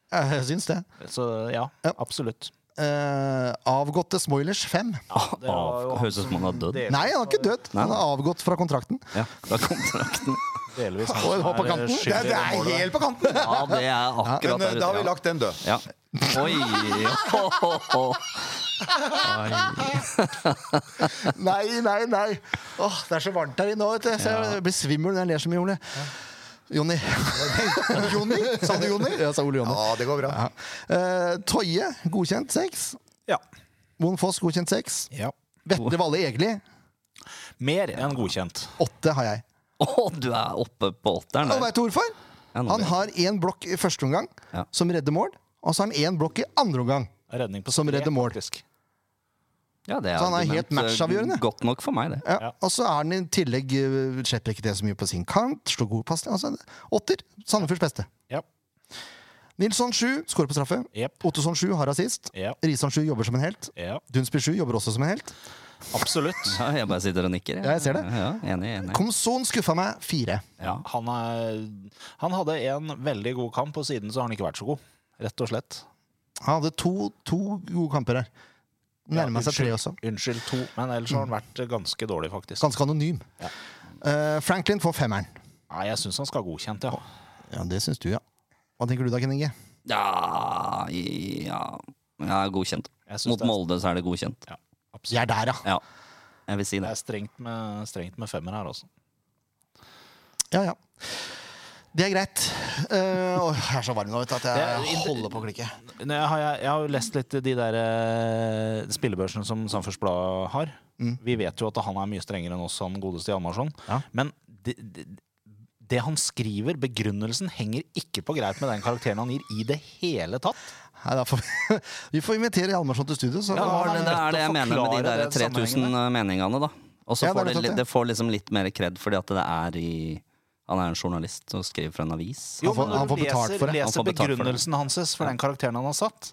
Speaker 1: Jeg syns det.
Speaker 2: så ja,
Speaker 1: Ja.
Speaker 2: absolutt.
Speaker 1: Eh, avgåtte Smoilers 5.
Speaker 2: det var jo-
Speaker 4: Av- Høres ut som han har dødd.
Speaker 1: Nei, han har ikke dødd. Han er avgått fra kontrakten.
Speaker 4: Ja, da kom kontrakten.
Speaker 2: Delvis.
Speaker 1: Og Ah, det var på kanten.
Speaker 3: Det, er- det er helt på kanten!
Speaker 4: Ja, det er akkurat
Speaker 3: Men eh,
Speaker 4: der
Speaker 3: da har vi
Speaker 4: ute.
Speaker 3: lagt den død.
Speaker 4: Ja. Ja. Oi! ho, ho, ho.
Speaker 1: Nei, nei, nei. Åh, det er så varmt her inne nå, vet du. Så jeg blir svimmel når jeg ler så mye, Ole. Jonny. Jonny? Sa du Jonny? Ja, sa Ole Jonny.
Speaker 3: Ja, det går bra.
Speaker 1: Ja. Eh, Toje, godkjent seks.
Speaker 2: Ja.
Speaker 1: Moen Foss, godkjent seks.
Speaker 2: ja.
Speaker 1: Vetle Valle Egeli,
Speaker 2: Mer enn godkjent.
Speaker 1: åtte har jeg.
Speaker 4: Å, du er oppe på åtteren
Speaker 1: Og
Speaker 4: der.
Speaker 1: vet du hvorfor?
Speaker 4: Ja, nå
Speaker 1: Han
Speaker 4: vet jeg.
Speaker 1: har én blokk i første omgang
Speaker 4: Ja.
Speaker 1: som redder mål, og så har han én blokk i andre omgang
Speaker 2: Redning på
Speaker 1: Som
Speaker 2: tre,
Speaker 1: redder mål.
Speaker 2: faktisk.
Speaker 4: Ja, det
Speaker 1: Så han er
Speaker 4: argument,
Speaker 1: helt matchavgjørende?
Speaker 4: eh, Godt nok for meg, det.
Speaker 1: Ja.
Speaker 2: Ja.
Speaker 1: Og så er han i tillegg eh, slipper ikke til så mye på sin kant. Slo god pasning. Altså, åtter. Sandefjords beste.
Speaker 2: Ja.
Speaker 1: Nilsson 7 skårer på straffe.
Speaker 2: Jepp.
Speaker 1: Ottosson 7 har assist.
Speaker 2: Ja.
Speaker 1: Risan 7 jobber som en helt.
Speaker 2: ja.
Speaker 1: Dunsby 7 jobber også som en helt.
Speaker 2: Absolutt.
Speaker 4: Ja, jeg bare sitter og nikker.
Speaker 1: Ja, jeg ser det.
Speaker 4: Ja, enig, enig.
Speaker 1: Komson skuffa meg 4.
Speaker 4: Ja.
Speaker 2: Han, er, han hadde en veldig god kamp, og siden så har han ikke vært så god. Rett og slett.
Speaker 1: Han hadde to, to gode kamper her. Nærma seg tre også.
Speaker 2: Unnskyld, to. Men ellers har han vært eh, ganske dårlig, faktisk.
Speaker 1: Ganske anonym. Eh, Franklin får femmeren.
Speaker 2: Nei, jeg syns han skal ha godkjent, ja.
Speaker 1: Ja, det syns du, ja. Hva tenker du da, Kenninge?
Speaker 4: Ja, ja. ja godkjent.
Speaker 2: Jeg synes
Speaker 4: Mot
Speaker 2: det er-
Speaker 4: Molde så er det godkjent.
Speaker 2: ja
Speaker 1: Vi
Speaker 2: absolutt.
Speaker 1: er der, ja.
Speaker 4: Ja, jeg vil si
Speaker 2: Det
Speaker 4: det.
Speaker 2: er strengt med, strengt med femmer her, altså.
Speaker 1: Ja, ja. Det er greit. Eh, åh, jeg er så varm nå vet du, at
Speaker 2: Det
Speaker 1: jeg
Speaker 2: er-
Speaker 1: holder på å klikke.
Speaker 2: Nei, Jeg har, jeg har jo lest litt de der eh, spillebørsene som Samfunns Blad har. Vi vet jo at han er mye strengere enn oss, han godeste Hjalmarsson.
Speaker 1: Ja.
Speaker 2: Men det, det, det han skriver, begrunnelsen, henger ikke på greip med den karakteren han gir i det hele tatt.
Speaker 1: Nei, da får vi, vi får invitere Hjalmarsson til studio. Så
Speaker 2: Ja,
Speaker 1: da har
Speaker 2: han
Speaker 1: den-
Speaker 4: Det er det jeg
Speaker 2: Nødt til å
Speaker 4: mener med de
Speaker 2: forklare
Speaker 4: der
Speaker 2: den
Speaker 4: 3000 meningene, da. Og så
Speaker 1: Ja, det er
Speaker 4: får
Speaker 1: det
Speaker 4: det,
Speaker 1: sant,
Speaker 4: li-
Speaker 1: ja.
Speaker 4: det får liksom litt mer kred fordi at det er i Han er en journalist og skriver for en avis.
Speaker 1: Jo, får-
Speaker 2: men når
Speaker 1: han
Speaker 2: du
Speaker 1: får betalt for det.
Speaker 2: Leser,
Speaker 4: Han får
Speaker 2: leser
Speaker 4: betalt for det.
Speaker 2: begrunnelsen hans for den karakteren han har satt.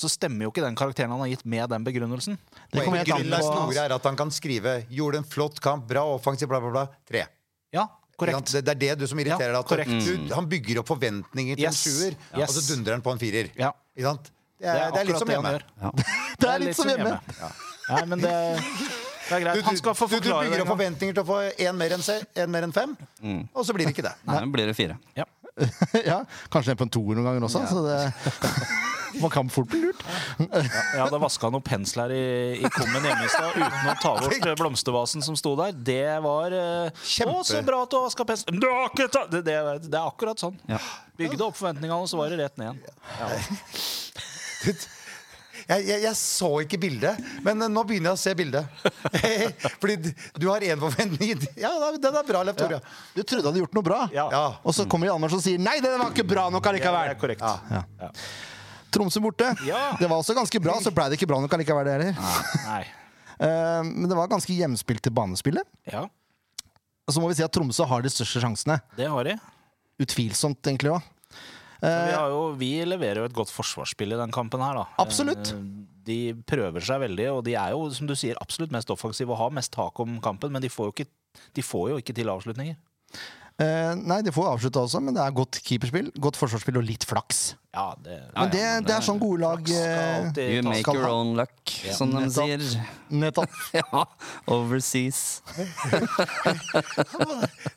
Speaker 2: Så stemmer jo ikke den karakteren han har gitt, med den begrunnelsen.
Speaker 1: det kommer helt
Speaker 3: Grunnen er
Speaker 1: an
Speaker 3: store
Speaker 1: på.
Speaker 3: er at han kan skrive 'gjorde en flott kamp, bra offensiv', bla, bla, bla. Tre.
Speaker 2: Ja, korrekt.
Speaker 3: Det, det er det du som irriterer
Speaker 2: Ja, Mm.
Speaker 3: deg. at du- du- han bygger opp forventninger til
Speaker 2: Yes.
Speaker 3: en sjuer,
Speaker 2: Yes.
Speaker 3: og så dundrer han på en firer.
Speaker 2: Ja.
Speaker 3: Ikke sant? Det er, det er, litt
Speaker 2: akkurat
Speaker 3: som
Speaker 2: det han
Speaker 3: hjemme.
Speaker 2: gjør.
Speaker 1: Det er litt som hjemme.
Speaker 2: Ja. Nei, men det, det er greit. Han skal få
Speaker 3: du, du
Speaker 2: forklare
Speaker 3: bygger opp
Speaker 2: det. en gang. Mm.
Speaker 3: forventninger til å få én mer enn se- en mer enn fem, og så blir det ikke det.
Speaker 4: Nei, blir det fire.
Speaker 2: Ja.
Speaker 1: ja, kanskje ned på en toer noen ganger også. Så det Man kan fort bli lurt.
Speaker 2: Jeg hadde vaska noen pensler i, i kummen hjemme i stad uten å ta bort eh, blomstervasen som sto der. Det var eh, Å, så bra at du har vaska pensler! Men Du har ikke tatt det, det, det er akkurat sånn.
Speaker 4: Ja.
Speaker 2: Bygde opp forventningene, og så var det rett ned igjen.
Speaker 3: Jeg, jeg, jeg så ikke bildet, men eh, nå begynner jeg å se bildet. Fordi d- du har én forventning. Ja, da- den er bra, Leif Tore.
Speaker 1: Du trodde han hadde gjort noe bra,
Speaker 2: Ja.
Speaker 3: Ja.
Speaker 1: og så kommer Hjalmarsson og sier 'nei, det var ikke bra nok
Speaker 2: Det
Speaker 1: allikevel'.
Speaker 2: er korrekt.
Speaker 1: Ja. Tromsø borte.
Speaker 2: Ja.
Speaker 1: Det var også ganske bra, så blei det ikke bra nok allikevel, det heller.
Speaker 2: Nei.
Speaker 1: Eh, Men det var ganske hjemspilt til banespillet.
Speaker 2: Ja,
Speaker 1: Og så må vi si at Tromsø har de største sjansene.
Speaker 2: det har de.
Speaker 1: Utvilsomt, egentlig òg.
Speaker 2: Men Vi, har jo, vi leverer jo et godt forsvarsspill i den kampen her, da.
Speaker 1: Absolutt.
Speaker 2: Eh, De prøver seg veldig, og de er jo, som du sier, absolutt mest offensive og har mest tak om kampen, men de får jo ikke, de får jo ikke til avslutninger.
Speaker 1: Eh, Nei, de får avslutta også, men det er godt keeperspill, godt forsvarsspill og litt flaks.
Speaker 2: Ja, det
Speaker 4: Ja,
Speaker 1: Men det,
Speaker 4: ja, men
Speaker 1: det er sånn gode lag
Speaker 2: skal
Speaker 1: eh,
Speaker 2: alltid
Speaker 4: You
Speaker 2: tas.
Speaker 4: make
Speaker 1: skal
Speaker 4: your
Speaker 1: ha-
Speaker 4: own luck, som de
Speaker 1: nettopp.
Speaker 4: sier.
Speaker 1: Nettopp.
Speaker 4: Ja, overseas.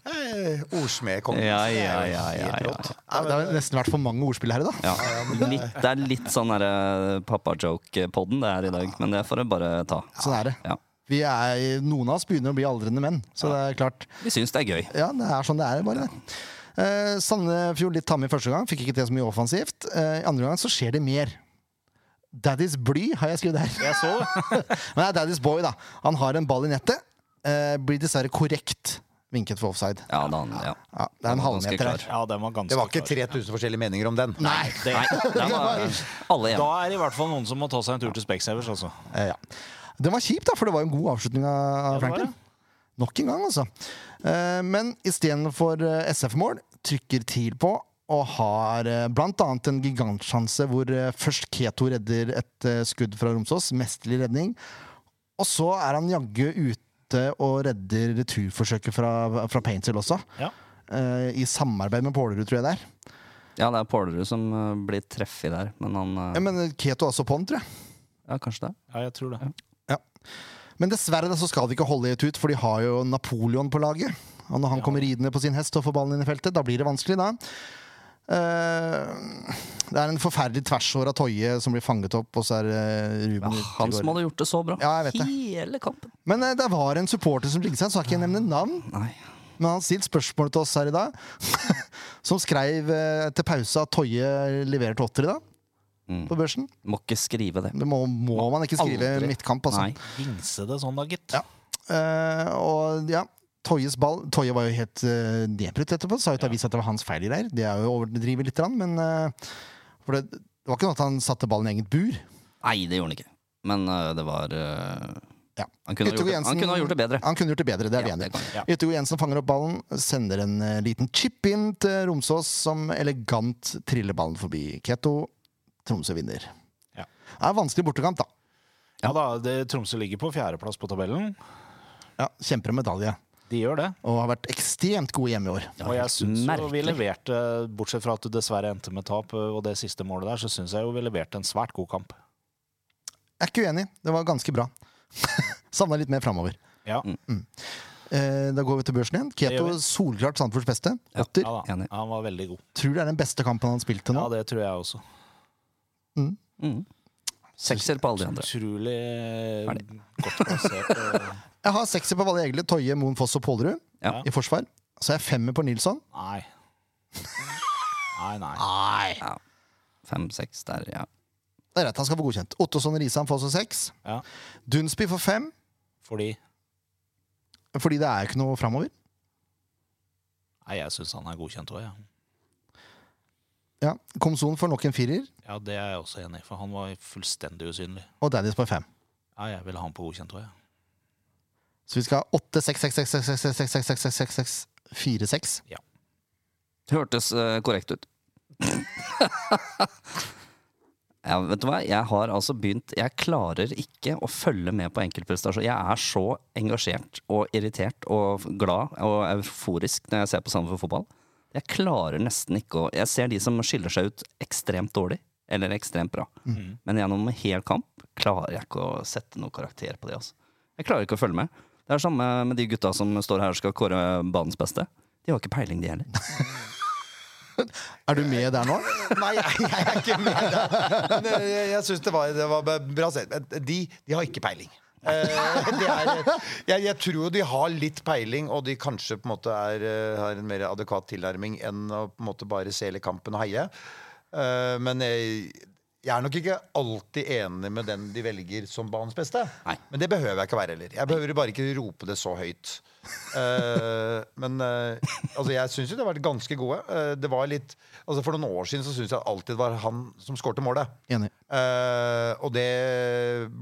Speaker 3: Eh, Ordsmed kom.
Speaker 4: Ja, ja,
Speaker 3: Det er jo
Speaker 4: ja,
Speaker 3: helt
Speaker 4: ja, ja.
Speaker 3: rått.
Speaker 1: Det har nesten vært for mange ordspill her i dag.
Speaker 4: Ja. Litt, det er litt sånn derre pappa-joke-podden det er i dag, men det får du bare ta.
Speaker 1: Sånn er det.
Speaker 4: Ja.
Speaker 1: Vi er, noen av oss begynner å bli aldrende menn, så det er klart.
Speaker 4: Vi syns det er gøy.
Speaker 1: Ja, det er sånn det er, bare. det. Eh, Sandefjord litt tamme i første gang, fikk ikke til så mye offensivt. Eh, I andre gang så skjer det mer. Daddy's bly har jeg skrevet her.
Speaker 2: Jeg så det.
Speaker 1: Men det er Daddy's boy, da. Han har en ball i nettet. Eh, blir dessverre korrekt vinket for offside.
Speaker 4: Ja, da, ja.
Speaker 1: Ja, det er en
Speaker 4: Ganske
Speaker 1: halvmeter her.
Speaker 4: klar.
Speaker 2: Ja, den var ganske
Speaker 3: Det var ikke
Speaker 2: klar.
Speaker 3: 3000 forskjellige meninger om den.
Speaker 1: Nei!
Speaker 2: Det,
Speaker 4: Nei, det var alle
Speaker 2: da
Speaker 4: enige.
Speaker 2: er det i hvert fall noen som må ta seg en tur til Specsavers, altså.
Speaker 1: Eh, ja. Den var kjip, da, for det var jo en god avslutning av
Speaker 2: det var
Speaker 1: Franklin.
Speaker 2: det.
Speaker 1: Nok en gang, altså. Eh, Men istedenfor eh, SF-mål trykker TIL på og har eh, blant annet en gigantsjanse hvor eh, først Keto redder et eh, skudd fra Romsås. Mesterlig redning. Og så er han jaggu ute og redder returforsøket fra, fra Paintsill også.
Speaker 2: Ja.
Speaker 1: Eh, I samarbeid med Pålerud, tror jeg det er.
Speaker 4: Ja, det er Pålerud som eh, blir treffig der, men han eh,
Speaker 1: Ja, Men Keto er også på'n, tror jeg.
Speaker 4: Ja, kanskje det.
Speaker 2: ja, jeg tror det.
Speaker 1: Ja. Men dessverre da, så skal de ikke holde i et ut, for de har jo Napoleon på laget. Og når han kommer ridende på sin hest og får ballen inn i feltet, da blir det vanskelig, da. Eh, det er en forferdelig tversår av Toje som blir fanget opp, og så er det eh,
Speaker 4: Ja,
Speaker 1: Ruben
Speaker 4: han
Speaker 1: Utegård.
Speaker 4: som hadde gjort det så bra.
Speaker 1: Ja, jeg vet det.
Speaker 4: Hele kampen.
Speaker 1: Men eh, det var en supporter som ligget seg, så har ikke jeg nevnt navn.
Speaker 4: Nei.
Speaker 1: Men han har stilt spørsmål til oss her i dag, som skrev eh, til pause at Toje leverer til åtter i dag. På børsen.
Speaker 4: Må ikke skrive det.
Speaker 1: Det må, må man ikke skrive
Speaker 4: Mm. Aldri.
Speaker 1: midtkamp, altså.
Speaker 4: Nei.
Speaker 2: Vingse det sånn da, gitt.
Speaker 1: Ja. Eh, og ja, Toyes ball Toye var jo helt uh, nedbrutt etterpå. Sa jo til avisa at det var hans feil i greier. Det er jo å overdrive litt, grann, men eh, for det, Det var ikke noe at han satte ballen i eget bur.
Speaker 4: Nei, det gjorde han ikke. Men øh, det var øh,
Speaker 1: Ja.
Speaker 4: han,
Speaker 1: Yttergård
Speaker 4: kunne ha gjort det, han
Speaker 1: Jensen-
Speaker 4: kunne ha gjort det bedre.
Speaker 1: Han kunne gjort det bedre, det er vi
Speaker 4: Ja,
Speaker 1: enig
Speaker 4: det
Speaker 1: i. Yttergård Jensen fanger opp ballen, sender en eh, liten chip inn til Romsås, som elegant triller ballen forbi Keto. Tromsø vinner.
Speaker 2: Ja.
Speaker 1: Det er vanskelig bortekamp, da.
Speaker 2: Ja da, det, Tromsø ligger på fjerdeplass på tabellen.
Speaker 1: Ja, Kjemper om medalje,
Speaker 2: De gjør det.
Speaker 1: og har vært ekstremt gode hjemme i år.
Speaker 2: Og jeg syns jo vi
Speaker 4: merkelig.
Speaker 2: leverte, bortsett fra at det dessverre endte med tap og det siste målet der, så syns jeg jo vi leverte en svært god kamp.
Speaker 1: Jeg er ikke uenig, det var ganske bra. Savna litt mer framover.
Speaker 2: Ja,
Speaker 4: Mm.
Speaker 1: Eh, da går vi til børsen igjen.
Speaker 2: Det gjør
Speaker 1: Keto
Speaker 2: vi.
Speaker 1: solklart Sandefjords beste.
Speaker 4: Ja.
Speaker 1: Åtter.
Speaker 2: ja da.
Speaker 4: Enig.
Speaker 2: Han var veldig god.
Speaker 1: Tror det er den beste kampen han har spilt til
Speaker 2: Ja,
Speaker 1: nå.
Speaker 2: det tror jeg også.
Speaker 4: Mm. Sekser på alle de andre.
Speaker 2: Utrolig eh,
Speaker 4: Ferdig.
Speaker 2: godt plassert. eh.
Speaker 1: Jeg har sekser på Valle Egle, Toje, Moen, Foss og Pålerud
Speaker 4: Ja.
Speaker 1: i forsvar. Så er jeg femmer på Nilsson.
Speaker 2: Nei. Nei, nei.
Speaker 4: Fem-seks der, ja.
Speaker 1: Det er rett, han skal få godkjent. Ottosson og Risan får også seks.
Speaker 2: Ja.
Speaker 1: Dunsby får fem,
Speaker 2: Fordi
Speaker 1: fordi det er jo ikke noe framover.
Speaker 2: Nei, jeg syns han er godkjent òg, jeg.
Speaker 1: Ja. Komson får nok en firer,
Speaker 2: Ja. ja, det er jeg også enig i, for han var fullstendig usynlig.
Speaker 1: og Daddies får fem.
Speaker 2: Ja, jeg ville ha han på godkjent òg, jeg.
Speaker 1: Så vi skal ha åtte, seks, seks, seks, seks, seks, seks, seks, seks, seks, seks, seks, fire, seks.
Speaker 4: Hørtes øh, korrekt ut. ja, vet du hva? Jeg har altså begynt Jeg klarer ikke å følge med på enkeltprestasjoner. Jeg er så engasjert og irritert og glad og euforisk når jeg ser på Sandefjord fotball. Jeg klarer nesten ikke å Jeg ser de som skiller seg ut ekstremt dårlig eller ekstremt bra. Men gjennom en hel kamp klarer jeg ikke å sette noen karakter på det. Altså. Jeg klarer ikke å følge med. Det er det samme med de gutta som står her og skal kåre banens beste. De har ikke peiling, de heller.
Speaker 1: Er du med der nå?
Speaker 3: Nei, jeg, jeg er ikke med der. Men eh, jeg, jeg syns det, var- det var bra sett. Men eh, De, de har ikke peiling. Eh, det er, jeg, jeg tror jo de har litt peiling, og de kanskje på en måte er, eh, har en mer adekvat tilnærming enn å på en måte bare se hele kampen og heie. Eh, men jeg, jeg er nok ikke alltid enig med den de velger som banens beste.
Speaker 4: Nei.
Speaker 3: Men det behøver jeg ikke å være heller. Jeg behøver bare ikke rope det så høyt. Eh, men eh, altså, jeg syns jo de har vært ganske gode. Eh, det var litt, altså, for noen år siden så syns jeg alltid det var han som skårte målet.
Speaker 1: Enig.
Speaker 3: Eh, og det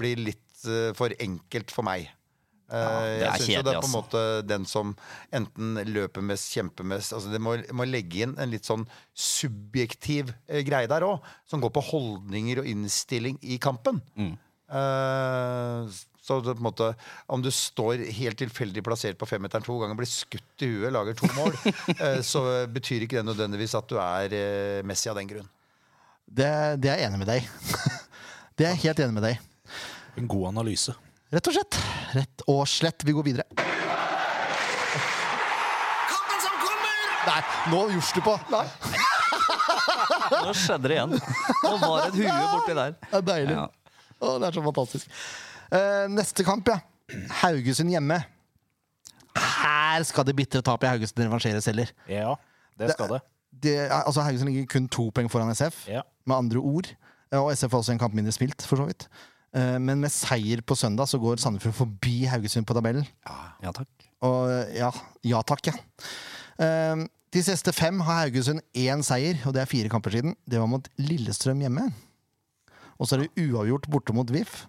Speaker 3: blir litt eh, for enkelt for meg. Eh,
Speaker 4: det er
Speaker 3: jeg syns jo det er
Speaker 4: kjedelig, altså.
Speaker 3: på en måte den som enten løper mest, kjemper mest altså Det må, må legge inn en litt sånn subjektiv eh, greie der òg, som går på holdninger og innstilling i kampen.
Speaker 4: Mm.
Speaker 3: Eh, så det, er på en måte, om du står helt tilfeldig plassert på femmeteren to ganger, blir skutt i huet, lager to mål, eh, så betyr ikke det nødvendigvis at du er eh, Messi av den grunn.
Speaker 1: Det, det er jeg enig med deg i. Det er jeg helt enig med deg i.
Speaker 2: En god analyse.
Speaker 1: Rett og slett. Rett og slett. Vi går videre.
Speaker 5: Kampen som kommer!
Speaker 1: Nei, nå gjorde du på! Nei.
Speaker 4: Nå skjedde det igjen. Nå var et hue borti der.
Speaker 1: Det er deilig.
Speaker 4: Ja.
Speaker 1: Å, det er så fantastisk. Eh, neste kamp, ja. Haugesund hjemme. Her skal det bitre tapet i Haugesund revansjeres heller.
Speaker 2: Ja, det skal det.
Speaker 1: Det, er- altså Haugesund ligger kun to poeng foran SF,
Speaker 2: Ja.
Speaker 1: med andre ord. Eh, Og SF har også en kamp mindre spilt, for så vidt. Eh, Men med seier på søndag så går Sandefjord forbi Haugesund på tabellen.
Speaker 4: Ja takk.
Speaker 1: Og eh, ja, ja takk, ja. Eh, De siste fem har Haugesund én seier, og det er fire kamper siden. Det var mot Lillestrøm hjemme. Og så er det uavgjort borte mot VIF.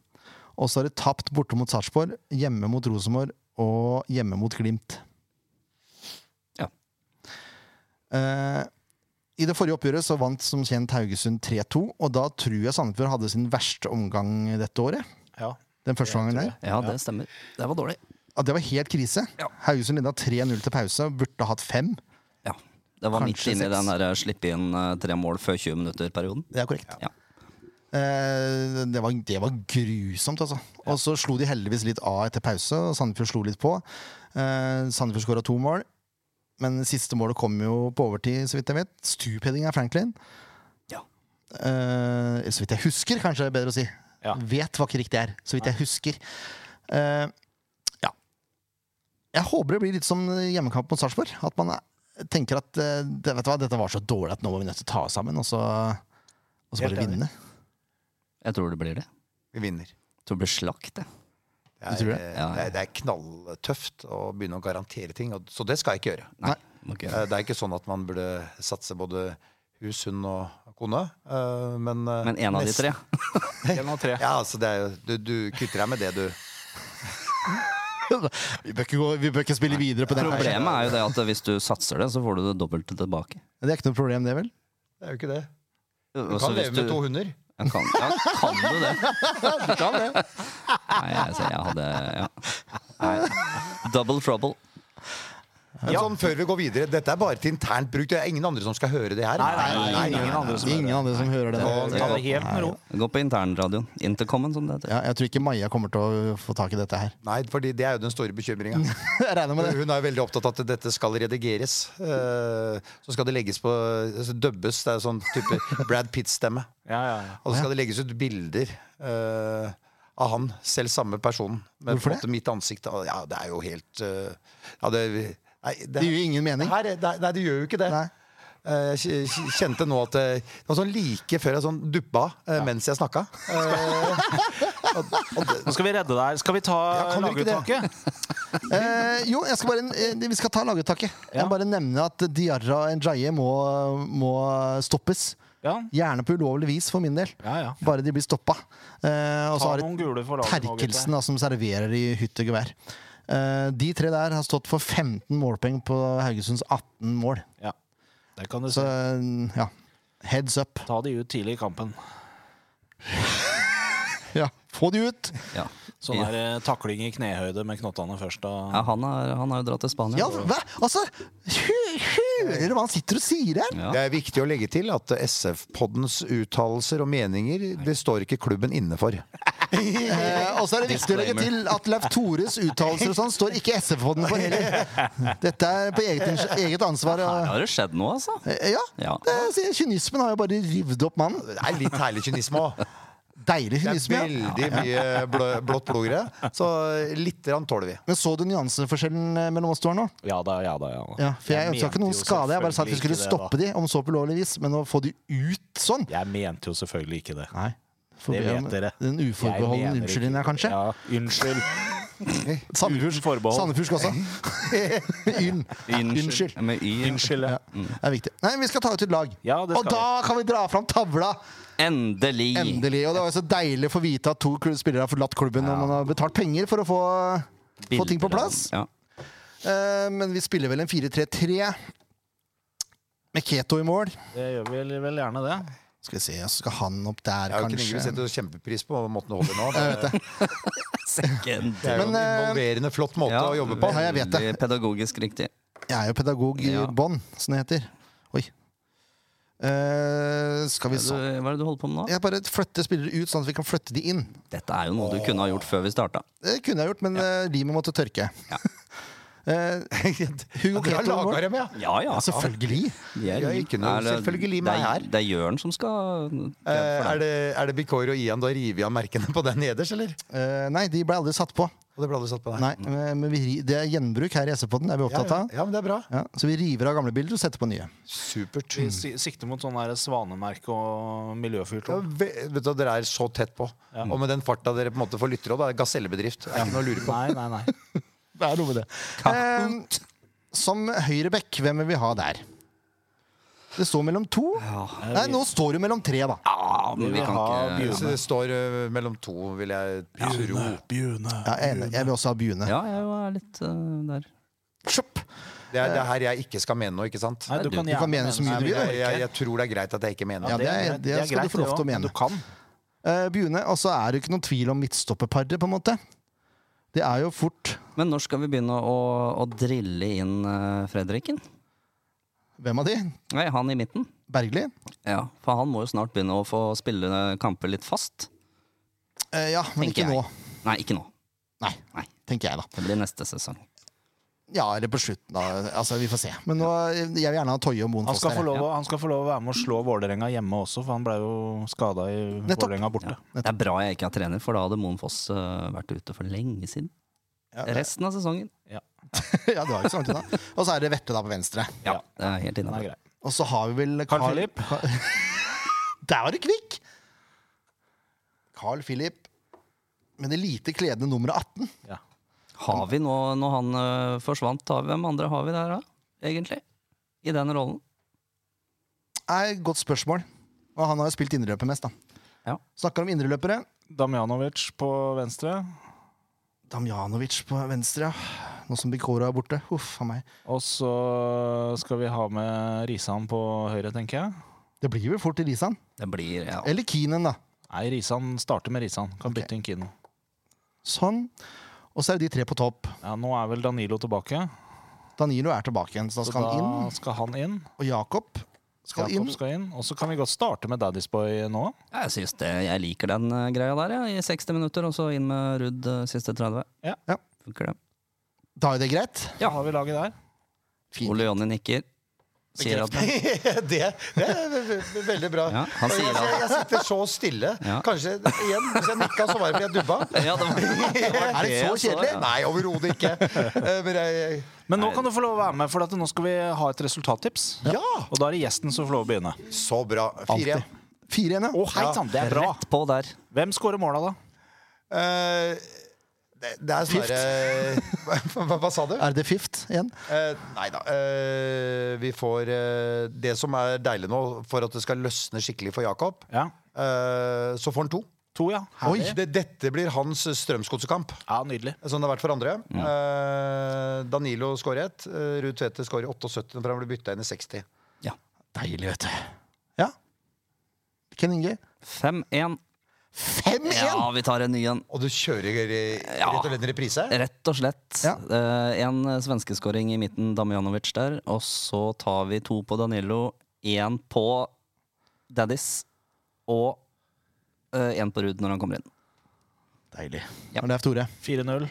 Speaker 1: Og så er det tapt borte mot Sarpsborg, hjemme mot Rosenborg og hjemme mot Glimt.
Speaker 4: Ja.
Speaker 1: Eh, I det forrige oppgjøret så vant som kjent Haugesund 3-2, og da tror jeg Sandefjord hadde sin verste omgang dette året.
Speaker 2: Ja.
Speaker 1: Den første gangen der.
Speaker 4: Ja, det stemmer. Det var dårlig.
Speaker 1: Ja, det var helt krise.
Speaker 4: Ja.
Speaker 1: Haugesund leda 3-0 til pause, burde hatt fem.
Speaker 4: Ja. Det var midt
Speaker 1: Kanskje
Speaker 4: inne i
Speaker 1: seks.
Speaker 4: den der slippe inn eh, tre mål før 20 minutter-perioden.
Speaker 1: Det er korrekt.
Speaker 4: Ja.
Speaker 1: Eh, det, var, det var grusomt, altså. Og så slo de heldigvis litt av etter pause, og Sandefjord slo litt på. Eh, Sandefjord skåra to mål, men siste målet kom jo på overtid, så vidt jeg vet. Stupheading av Franklin.
Speaker 4: Ja.
Speaker 1: Eh, så vidt jeg husker, kanskje det er bedre å si.
Speaker 2: Ja.
Speaker 1: Vet var ikke riktig er. Så vidt jeg husker. Eh, ja. Jeg håper det blir litt som hjemmekamp mot Sarpsborg. At man eh, tenker at eh, det, vet du hva, dette var så dårlig at nå må vi nødt til å ta oss sammen, og så, og så
Speaker 2: Helt
Speaker 1: bare
Speaker 2: enig.
Speaker 1: vinne.
Speaker 4: Jeg tror det blir det.
Speaker 3: Vi vinner.
Speaker 4: Jeg tror det blir slakt, jeg.
Speaker 3: Det
Speaker 1: Du
Speaker 3: er,
Speaker 1: tror det?
Speaker 3: eh,
Speaker 4: Ja, ja.
Speaker 3: det er, det er knalltøft å begynne å garantere ting, og, så det skal jeg ikke gjøre.
Speaker 4: Nei. må ikke gjøre det.
Speaker 3: Eh, Det er ikke sånn at man burde satse både usunn og kone. eh, men, eh,
Speaker 4: Men en av de
Speaker 3: nesten-
Speaker 4: tre.
Speaker 2: En av tre.
Speaker 3: Ja, altså det er jo, du, du kvitter deg med det, du.
Speaker 1: Vi bør ikke, gå, vi bør ikke spille videre på den. her.
Speaker 4: Problemet er jo det at hvis du satser det, så får du det dobbelte tilbake.
Speaker 1: Det er ikke noe problem, det, vel?
Speaker 3: Det er jo ikke det. Du
Speaker 4: Så
Speaker 3: kan
Speaker 4: hvis
Speaker 3: leve med
Speaker 4: du-
Speaker 3: to hunder.
Speaker 4: Ja, Kan, ja, kan du det?
Speaker 3: Du kan det.
Speaker 4: Nei, jeg, jeg hadde ja. Nei. Double trouble.
Speaker 3: Men sånn før vi går videre, dette er bare til internt bruk. Det er ingen andre som skal høre det her.
Speaker 2: Nei, nei, nei,
Speaker 3: Nei,
Speaker 2: ingen andre som
Speaker 1: Ingen andre som hører det.
Speaker 3: Nå-
Speaker 2: Ta det helt med ro.
Speaker 4: Gå på internradioen. Intercomen, som det heter.
Speaker 1: Ja, jeg tror ikke Maja kommer til å få tak i dette her.
Speaker 3: Nei, fordi det er jo den store bekymringa.
Speaker 4: Mm.
Speaker 1: Jeg regner med det.
Speaker 3: Hun er jo veldig opptatt av at dette skal redigeres. Eh, Så skal det legges på altså Dubbes. Det er sånn type Brad Pitt-stemme.
Speaker 2: Ja, ja, ja.
Speaker 3: Og så skal det legges ut bilder eh, av han, selv samme personen. Men
Speaker 1: Hvorfor
Speaker 3: på en måte mitt ansikt og- Ja, det er jo helt eh, ja, det, nei, det,
Speaker 1: Det gir jo ingen
Speaker 3: det
Speaker 1: mening.
Speaker 3: her, er- det, er- nei, det gjør jo ikke det.
Speaker 1: Nei.
Speaker 3: Eh, Jeg kj- kj- kjente nå at eh, det var sånn like før jeg sånn duppa eh, mens jeg snakka. Eh, og, og det,
Speaker 2: Nå skal vi redde deg. Skal vi ta
Speaker 3: Ja, kan du ikke det?
Speaker 2: laguttaket?
Speaker 1: Eh, jo, jeg skal bare, eh, vi skal ta laguttaket. Jeg
Speaker 2: Ja.
Speaker 1: bare nevner at Diarra og Njaye må, må stoppes.
Speaker 2: Ja.
Speaker 1: Gjerne på ulovlig vis, for min del.
Speaker 2: Ja, ja.
Speaker 1: Bare de blir stoppa. Eh, og så
Speaker 2: Ta
Speaker 1: har
Speaker 2: noen
Speaker 1: de
Speaker 2: gule for laget nå,
Speaker 1: Terkelsen,
Speaker 2: gutter.
Speaker 1: da, som serverer i hytt og gevær. Eh, de tre der har stått for 15 målpoeng på Haugesunds 18 mål.
Speaker 2: Ja. Der kan du
Speaker 1: Så
Speaker 2: se.
Speaker 1: eh, ja, heads up.
Speaker 2: Ta de ut tidlig i kampen.
Speaker 1: Ja, Få de ut!
Speaker 4: Ja.
Speaker 2: Sånn her eh, takling i knehøyde med knottene først. Og...
Speaker 4: Ja, han har han har jo dratt til Spania.
Speaker 1: Ja, hva? Altså, hø- hører du hva han sitter og sier her?
Speaker 4: Ja.
Speaker 3: Det er viktig å legge til at SF-poddens uttalelser og meninger det står ikke klubben inne for.
Speaker 1: Eh, og så er det viktig å legge til at Leif Tores uttalelser og sånn står ikke SF-podden for heller. Dette er på eget, ins- eget ansvar.
Speaker 4: Her
Speaker 1: Og,
Speaker 4: har det skjedd noe, altså.
Speaker 1: Eh, ja,
Speaker 4: Ja.
Speaker 1: det, sier jeg, kynismen har jo bare rivd opp mannen.
Speaker 3: Det er litt herlig kynisme òg.
Speaker 1: Deilig
Speaker 3: Det er
Speaker 1: kynisme. ja.
Speaker 3: veldig mye blå, blått blod i det, så lite grann tåler vi.
Speaker 1: Men så du nyanseforskjellen eh, mellom oss to her nå?
Speaker 2: Ja da, ja da. ja da.
Speaker 1: Ja, for jeg
Speaker 2: Jeg
Speaker 1: ønska ikke noen
Speaker 2: mente jo
Speaker 1: skade. Jeg bare sa at vi
Speaker 2: selvfølgelig
Speaker 1: skulle
Speaker 2: ikke det,
Speaker 1: stoppe de, om så på ulovlig vis. Men å få de ut sånn
Speaker 2: Jeg mente jo selvfølgelig ikke det.
Speaker 1: Nei. Får
Speaker 2: Det
Speaker 1: be om
Speaker 2: vet dere.
Speaker 1: Den
Speaker 2: Jeg
Speaker 1: uforbeholdne
Speaker 2: mener
Speaker 1: unnskyldningen,
Speaker 2: ikke-
Speaker 1: kanskje?
Speaker 2: Ja, unnskyld.
Speaker 1: Sandefjord,
Speaker 2: Uten forbehold.
Speaker 1: Sandefjord skal også. Unn. Unnskyld.
Speaker 4: Med y.
Speaker 2: Unnskyld.
Speaker 1: Ja,
Speaker 2: ja.
Speaker 1: det er viktig. Nei, Vi skal ta ut et lag.
Speaker 2: Ja, det
Speaker 1: og
Speaker 2: skal
Speaker 1: da kan vi dra fram tavla!
Speaker 4: Endelig.
Speaker 1: Endelig. Og det var jo så deilig å få vite at to kl- spillere har forlatt klubben og man har betalt penger for å få, få ting på plass.
Speaker 4: Ja.
Speaker 1: Eh, men vi spiller vel en 4-3-3 med Keto i mål.
Speaker 2: Det gjør vi vel- vel gjerne det.
Speaker 1: Skal vi se, så skal han opp der,
Speaker 3: Jeg har jo ikke
Speaker 1: kanskje.
Speaker 3: Ingrid setter kjempepris på måten du holder nå. Det,
Speaker 4: Second.
Speaker 3: det er jo en
Speaker 1: Men, eh,
Speaker 3: involverende, flott måte å jobbe på.
Speaker 1: Ja, jeg vet det.
Speaker 4: veldig Pedagogisk riktig.
Speaker 1: Jeg er jo pedagog i
Speaker 4: Ja.
Speaker 1: bånn, som det heter. Oi. Eh, skal vi
Speaker 4: Hva
Speaker 1: se
Speaker 4: er det du holder på med nå?
Speaker 1: Jeg bare flytter spillere ut, sånn at vi kan flytte de inn.
Speaker 4: Dette er jo noe du kunne ha gjort før vi starta.
Speaker 1: Det kunne jeg gjort, men eh, limet måtte tørke.
Speaker 4: Ja.
Speaker 1: Eh, Hugo
Speaker 3: Dere
Speaker 1: Keto i
Speaker 3: har
Speaker 1: mål.
Speaker 3: laga dem, ja!
Speaker 4: Ja, ja.
Speaker 1: Ja, selvfølgelig.
Speaker 4: Vi er-
Speaker 3: Ja, ikke noe
Speaker 4: er det-
Speaker 3: selvfølgelig meg
Speaker 4: det er-
Speaker 3: her.
Speaker 4: Det er Jørn som skal
Speaker 3: Eh, Er det, er det Bikor og Ian? Da river vi av merkene på den nederst, eller?
Speaker 1: Eh, nei, de ble aldri satt på.
Speaker 3: Og det ble aldri satt på der.
Speaker 1: Nei, eh, men men vi, ri- Det er gjenbruk her i SV-podden, er vi
Speaker 3: Ja,
Speaker 1: opptatt
Speaker 3: ja,
Speaker 1: av.
Speaker 3: ja, men det er bra.
Speaker 1: Ja, så vi river av gamle bilder og setter på nye.
Speaker 3: Supert.
Speaker 2: Vi si- sikter mot sånn der svanemerke og
Speaker 3: Ja,
Speaker 2: miljøfyrtårn.
Speaker 3: ve- vet du, hva, Dere er så tett på. Og med den farta dere på en måte får lyttere òg, det er gasellebedrift. Det er ikke noe å lure på.
Speaker 2: Nei, nei, nei.
Speaker 1: Det er noe med det. Eh, som høyrebekk, hvem vil vi ha der? Det står mellom to. Nei, nå står det mellom tre, da.
Speaker 4: Ja, men vi
Speaker 2: vil
Speaker 4: kan
Speaker 2: ha
Speaker 4: ikke
Speaker 2: bio-
Speaker 3: Så det står eh, mellom to, vil jeg tro.
Speaker 1: eh, Ja, jeg, er enig. jeg vil også ha Bune.
Speaker 4: Ja, jeg er litt eh, der.
Speaker 1: Sjopp!
Speaker 3: Det er det er her jeg ikke skal mene noe, ikke sant?
Speaker 2: Nei, du kan
Speaker 1: Du kan
Speaker 2: gjerne
Speaker 1: mene så mye
Speaker 3: Nei,
Speaker 1: du
Speaker 3: men
Speaker 1: vil.
Speaker 3: jeg, jeg, jeg tror det er greit at jeg ikke mener
Speaker 1: Ja,
Speaker 3: det.
Speaker 1: det, er, det, skal du få lov til å
Speaker 2: det også,
Speaker 1: mene.
Speaker 2: men Du kan.
Speaker 1: Eh, Bune, Og så er det jo ikke noen tvil om midtstopperparet, på en måte. Det er jo fort
Speaker 4: Men når skal vi begynne å, å drille inn eh, Fredriken?
Speaker 1: Hvem av de?
Speaker 4: Nei, han i midten.
Speaker 1: Bergli?
Speaker 4: Ja, For han må jo snart begynne å få spille kamper litt fast.
Speaker 1: Eh, ja, men
Speaker 4: Tenker
Speaker 1: ikke
Speaker 4: jeg.
Speaker 1: nå,
Speaker 4: Nei, ikke nå.
Speaker 1: Nei.
Speaker 4: Nei,
Speaker 1: tenker jeg, da.
Speaker 4: Det blir neste sesong.
Speaker 1: Ja, eller på slutten. Da. Altså, vi får se. Men nå, jeg vil gjerne ha Toje og Moen
Speaker 2: Han
Speaker 1: Foss
Speaker 2: skal,
Speaker 1: der.
Speaker 2: få lov, å- han skal få lov å være med og slå Vålerenga hjemme også, for han ble jo skada i
Speaker 1: Nettopp.
Speaker 2: Vålerenga borte.
Speaker 4: Det er bra jeg ikke er trener, for da hadde Moen Foss eh, vært ute for lenge siden. Resten av sesongen.
Speaker 1: ja, det var jo ikke så langt unna. Og så er det Vette da på venstre.
Speaker 4: Ja, det er helt
Speaker 2: Den er
Speaker 4: innafor.
Speaker 2: grei.
Speaker 1: Og så har vi vel
Speaker 2: Carl Philip.
Speaker 1: Der var du kvikk! Carl Philip med det lite kledende nummeret 18.
Speaker 2: Ja.
Speaker 4: Har vi nå, når han eh, forsvant, har vi, hvem andre har vi der da, egentlig? I den rollen?
Speaker 1: er et godt spørsmål. Og han har jo spilt indreløper mest, da.
Speaker 4: Ja.
Speaker 1: Snakker om indreløpere.
Speaker 2: Damjanovic på venstre.
Speaker 1: Damjanovic på venstre, ja. Nå som Bikora er borte. Huff a meg.
Speaker 2: Og så skal vi ha med Risan på høyre, tenker jeg.
Speaker 1: Det blir vel fort Risan.
Speaker 4: Det blir ja.
Speaker 1: Eller Keenan, da.
Speaker 2: Nei, Risan starter med Risan. Kan bytte inn Kino.
Speaker 1: Sånn. Og så er det de tre på topp.
Speaker 2: Ja, nå er vel Danilo tilbake.
Speaker 1: Danilo er tilbake igjen, så da
Speaker 2: Så
Speaker 1: skal han
Speaker 2: da
Speaker 1: inn.
Speaker 2: skal han inn.
Speaker 1: Og Jakob skal
Speaker 2: Jakob
Speaker 1: inn.
Speaker 2: skal inn. Og så kan vi godt starte med Daddy's Boy nå.
Speaker 4: Jeg synes det, jeg liker den eh, greia der, ja, i 60 minutter, og så inn med Rudd eh, siste 30.
Speaker 2: Ja.
Speaker 1: Ja.
Speaker 4: Funker det.
Speaker 1: Da er det greit.
Speaker 2: Ja. Har vi laget der?
Speaker 1: Fint.
Speaker 4: Ole Jonny nikker. Sier at,
Speaker 3: det, det er ve- ve- veldig bra.
Speaker 4: ja, han sier
Speaker 3: jeg,
Speaker 4: at
Speaker 3: jeg sitter så stille.
Speaker 4: Ja.
Speaker 3: Kanskje igjen, hvis jeg nikka, så var det fordi jeg dubba.
Speaker 4: ja, det var,
Speaker 3: Er det så kjedelig? Nei, overhodet ikke. Eh, Men jeg,
Speaker 2: Men nå
Speaker 4: Nei.
Speaker 2: kan du få lov å være med, for at nå skal vi ha et resultattips.
Speaker 3: ja!
Speaker 2: Og da er det gjesten som får lov å begynne.
Speaker 3: Så bra. Fire.
Speaker 1: Alltid. Fire igjen, ja.
Speaker 2: Å, hei sann, det er bra!
Speaker 4: Rett på der.
Speaker 2: Hvem skårer måla, da?
Speaker 3: Eh, det, det er snarere hva, hva, hva sa du?
Speaker 1: Er det fifth igjen?
Speaker 3: Eh, nei da. eh, vi får eh, Det som er deilig nå, for at det skal løsne skikkelig for Jakob,
Speaker 2: Ja.
Speaker 3: eh, så får han to.
Speaker 2: To, ja.
Speaker 3: Oi, det, dette blir hans strømsgodsekamp.
Speaker 2: Ja, Nydelig.
Speaker 3: Som sånn det har vært for andre. Eh, Danilo skårer ett. eh, Ruud Tvedte skårer i 78, for han ble bytta inn i 60.
Speaker 4: Ja.
Speaker 1: Deilig, vet du. Ja. Ken Inge.
Speaker 4: 5-1.
Speaker 1: 5-1!
Speaker 4: Ja, vi tar en ny en.
Speaker 3: Og du kjører eh,
Speaker 4: Ja.
Speaker 3: rett og slett en reprise?
Speaker 4: Rett og slett.
Speaker 1: Ja.
Speaker 4: Eh, en svenskeskåring i midten, Damjanovic der. Og så tar vi to på Danilo, én på Daddies og én på Ruud når han kommer inn.
Speaker 1: Deilig.
Speaker 4: Ja.
Speaker 1: Ja. Det er Tore.
Speaker 2: 4-0.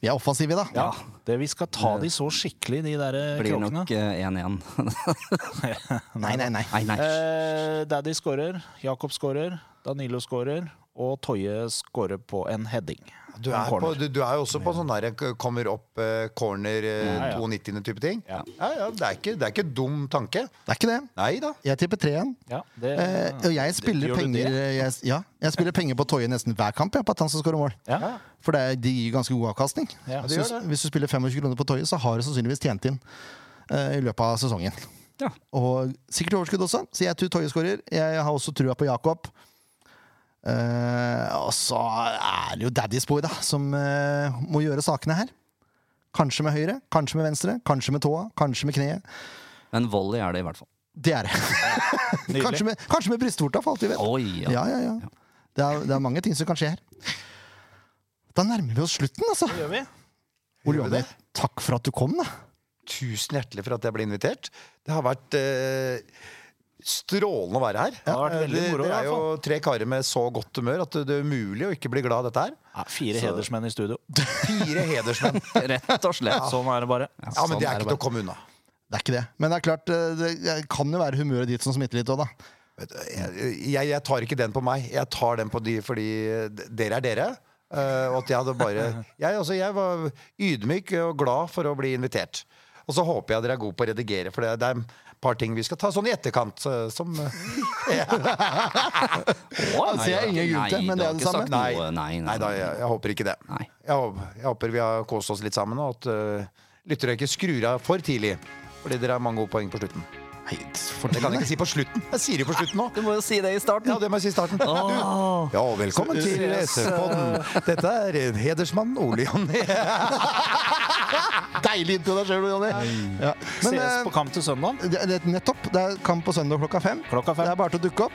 Speaker 1: Vi er offensive, da.
Speaker 2: Ja. Det, vi skal ta de så skikkelig, de der eh,
Speaker 4: Blir
Speaker 2: kråkene.
Speaker 4: nok eh, 1-1.
Speaker 1: Nei, nei, nei.
Speaker 4: nei, nei.
Speaker 2: Eh, Daddy skårer, Jakob skårer, Danilo skårer, og Toje skårer på en heading.
Speaker 3: Du er, på, du, du er jo også på sånn der eh, kommer opp eh, corner
Speaker 2: Ja, ja.
Speaker 3: 92 type ting.
Speaker 2: Ja.
Speaker 3: Ja, ja, det, er ikke, det er ikke dum tanke.
Speaker 1: Det er ikke det.
Speaker 3: Nei da.
Speaker 1: Jeg tipper tre igjen.
Speaker 2: Ja, det,
Speaker 1: Eh, og jeg spiller,
Speaker 2: Gjør du
Speaker 1: penger, jeg, ja, jeg spiller penger på Toje nesten hver kamp. Jeg, på at han skal score mål
Speaker 2: ja.
Speaker 1: For det, er- de gir ganske god avkastning.
Speaker 2: Ja, det
Speaker 1: så,
Speaker 3: gjør det.
Speaker 1: hvis du spiller 25 kroner på Toje, så har du sannsynligvis tjent inn eh, i løpet av sesongen.
Speaker 4: Ja.
Speaker 1: Og sikkert overskudd også, så jeg tror Toje skårer. Jeg har også trua på Jakob. Eh, og så er det jo Daddy's Boy, da, som eh, må gjøre sakene her. Kanskje med høyre, kanskje med venstre, kanskje med tåa, kanskje med kneet.
Speaker 4: Men volley er det i hvert fall.
Speaker 1: Det er det.
Speaker 2: Nydelig.
Speaker 1: Kanskje med, kanskje med brystvorta, for alt vi vet.
Speaker 4: Oi, ja.
Speaker 1: Ja, ja, ja. Det er, det er mange ting som kan skje her. Da nærmer vi oss slutten, altså.
Speaker 2: Det gjør vi.
Speaker 1: Ole
Speaker 3: vi det?
Speaker 1: Jonny, takk for at du kom, da.
Speaker 3: Tusen hjertelig for at jeg ble invitert. Det har vært eh, strålende å være her. Eh,
Speaker 2: Det har vært veldig
Speaker 3: det,
Speaker 2: moro,
Speaker 3: det
Speaker 2: i
Speaker 3: er
Speaker 2: hvert
Speaker 3: jo
Speaker 2: fall.
Speaker 3: tre karer med så godt humør at det er umulig å ikke bli glad av dette her.
Speaker 2: Ja, fire hedersmenn i studio.
Speaker 3: Fire hedersmenn.
Speaker 4: Rett og slett.
Speaker 2: Sånn er det bare.
Speaker 3: Ja, men
Speaker 4: Sånn
Speaker 3: det
Speaker 4: er
Speaker 3: er
Speaker 4: det
Speaker 3: ikke til å komme unna.
Speaker 1: Det er ikke det. Men det er klart, eh, det kan jo være humøret ditt som smitter litt òg, da.
Speaker 3: Vet du, Jeg, jeg, jeg tar ikke den på meg. Jeg tar den på de fordi d- dere er dere. Eh, og at jeg hadde bare jeg, altså, jeg var ydmyk og glad for å bli invitert. Og så håper jeg dere er gode på å redigere, for det, det er et par ting vi skal ta sånn i etterkant. eh, Som,
Speaker 4: Å,
Speaker 1: Altså, jeg har ingen grunn til, men det er det
Speaker 4: du har ikke
Speaker 1: samme.
Speaker 4: sagt
Speaker 3: Nei.
Speaker 4: noe. Nei, nei,
Speaker 3: nei da, jeg, jeg håper ikke det.
Speaker 4: Nei.
Speaker 3: Jeg, håper- jeg håper vi har kost oss litt sammen, og at eh, lyttere ikke skrur av for tidlig. Fordi dere har mange gode poeng på slutten.
Speaker 1: Nei,
Speaker 3: Det kan
Speaker 1: fortell
Speaker 3: jeg
Speaker 1: meg.
Speaker 3: ikke si på slutten. Jeg sier det på slutten nå.
Speaker 4: Du må jo si det i starten.
Speaker 3: Ja, det må jeg si i starten.
Speaker 4: Åh.
Speaker 3: Ja, velkommen til SV-podden. Dette er hedersmann Ole Jonny.
Speaker 1: Deilig introduksjon, Ole Jonny. Ja. Men
Speaker 2: Ses
Speaker 1: eh,
Speaker 2: på kamp til søndag.
Speaker 1: det, det, er nettopp. Det er kamp på søndag klokka fem.
Speaker 2: Klokka
Speaker 1: Det
Speaker 2: fem.
Speaker 1: er bare til å dukke opp,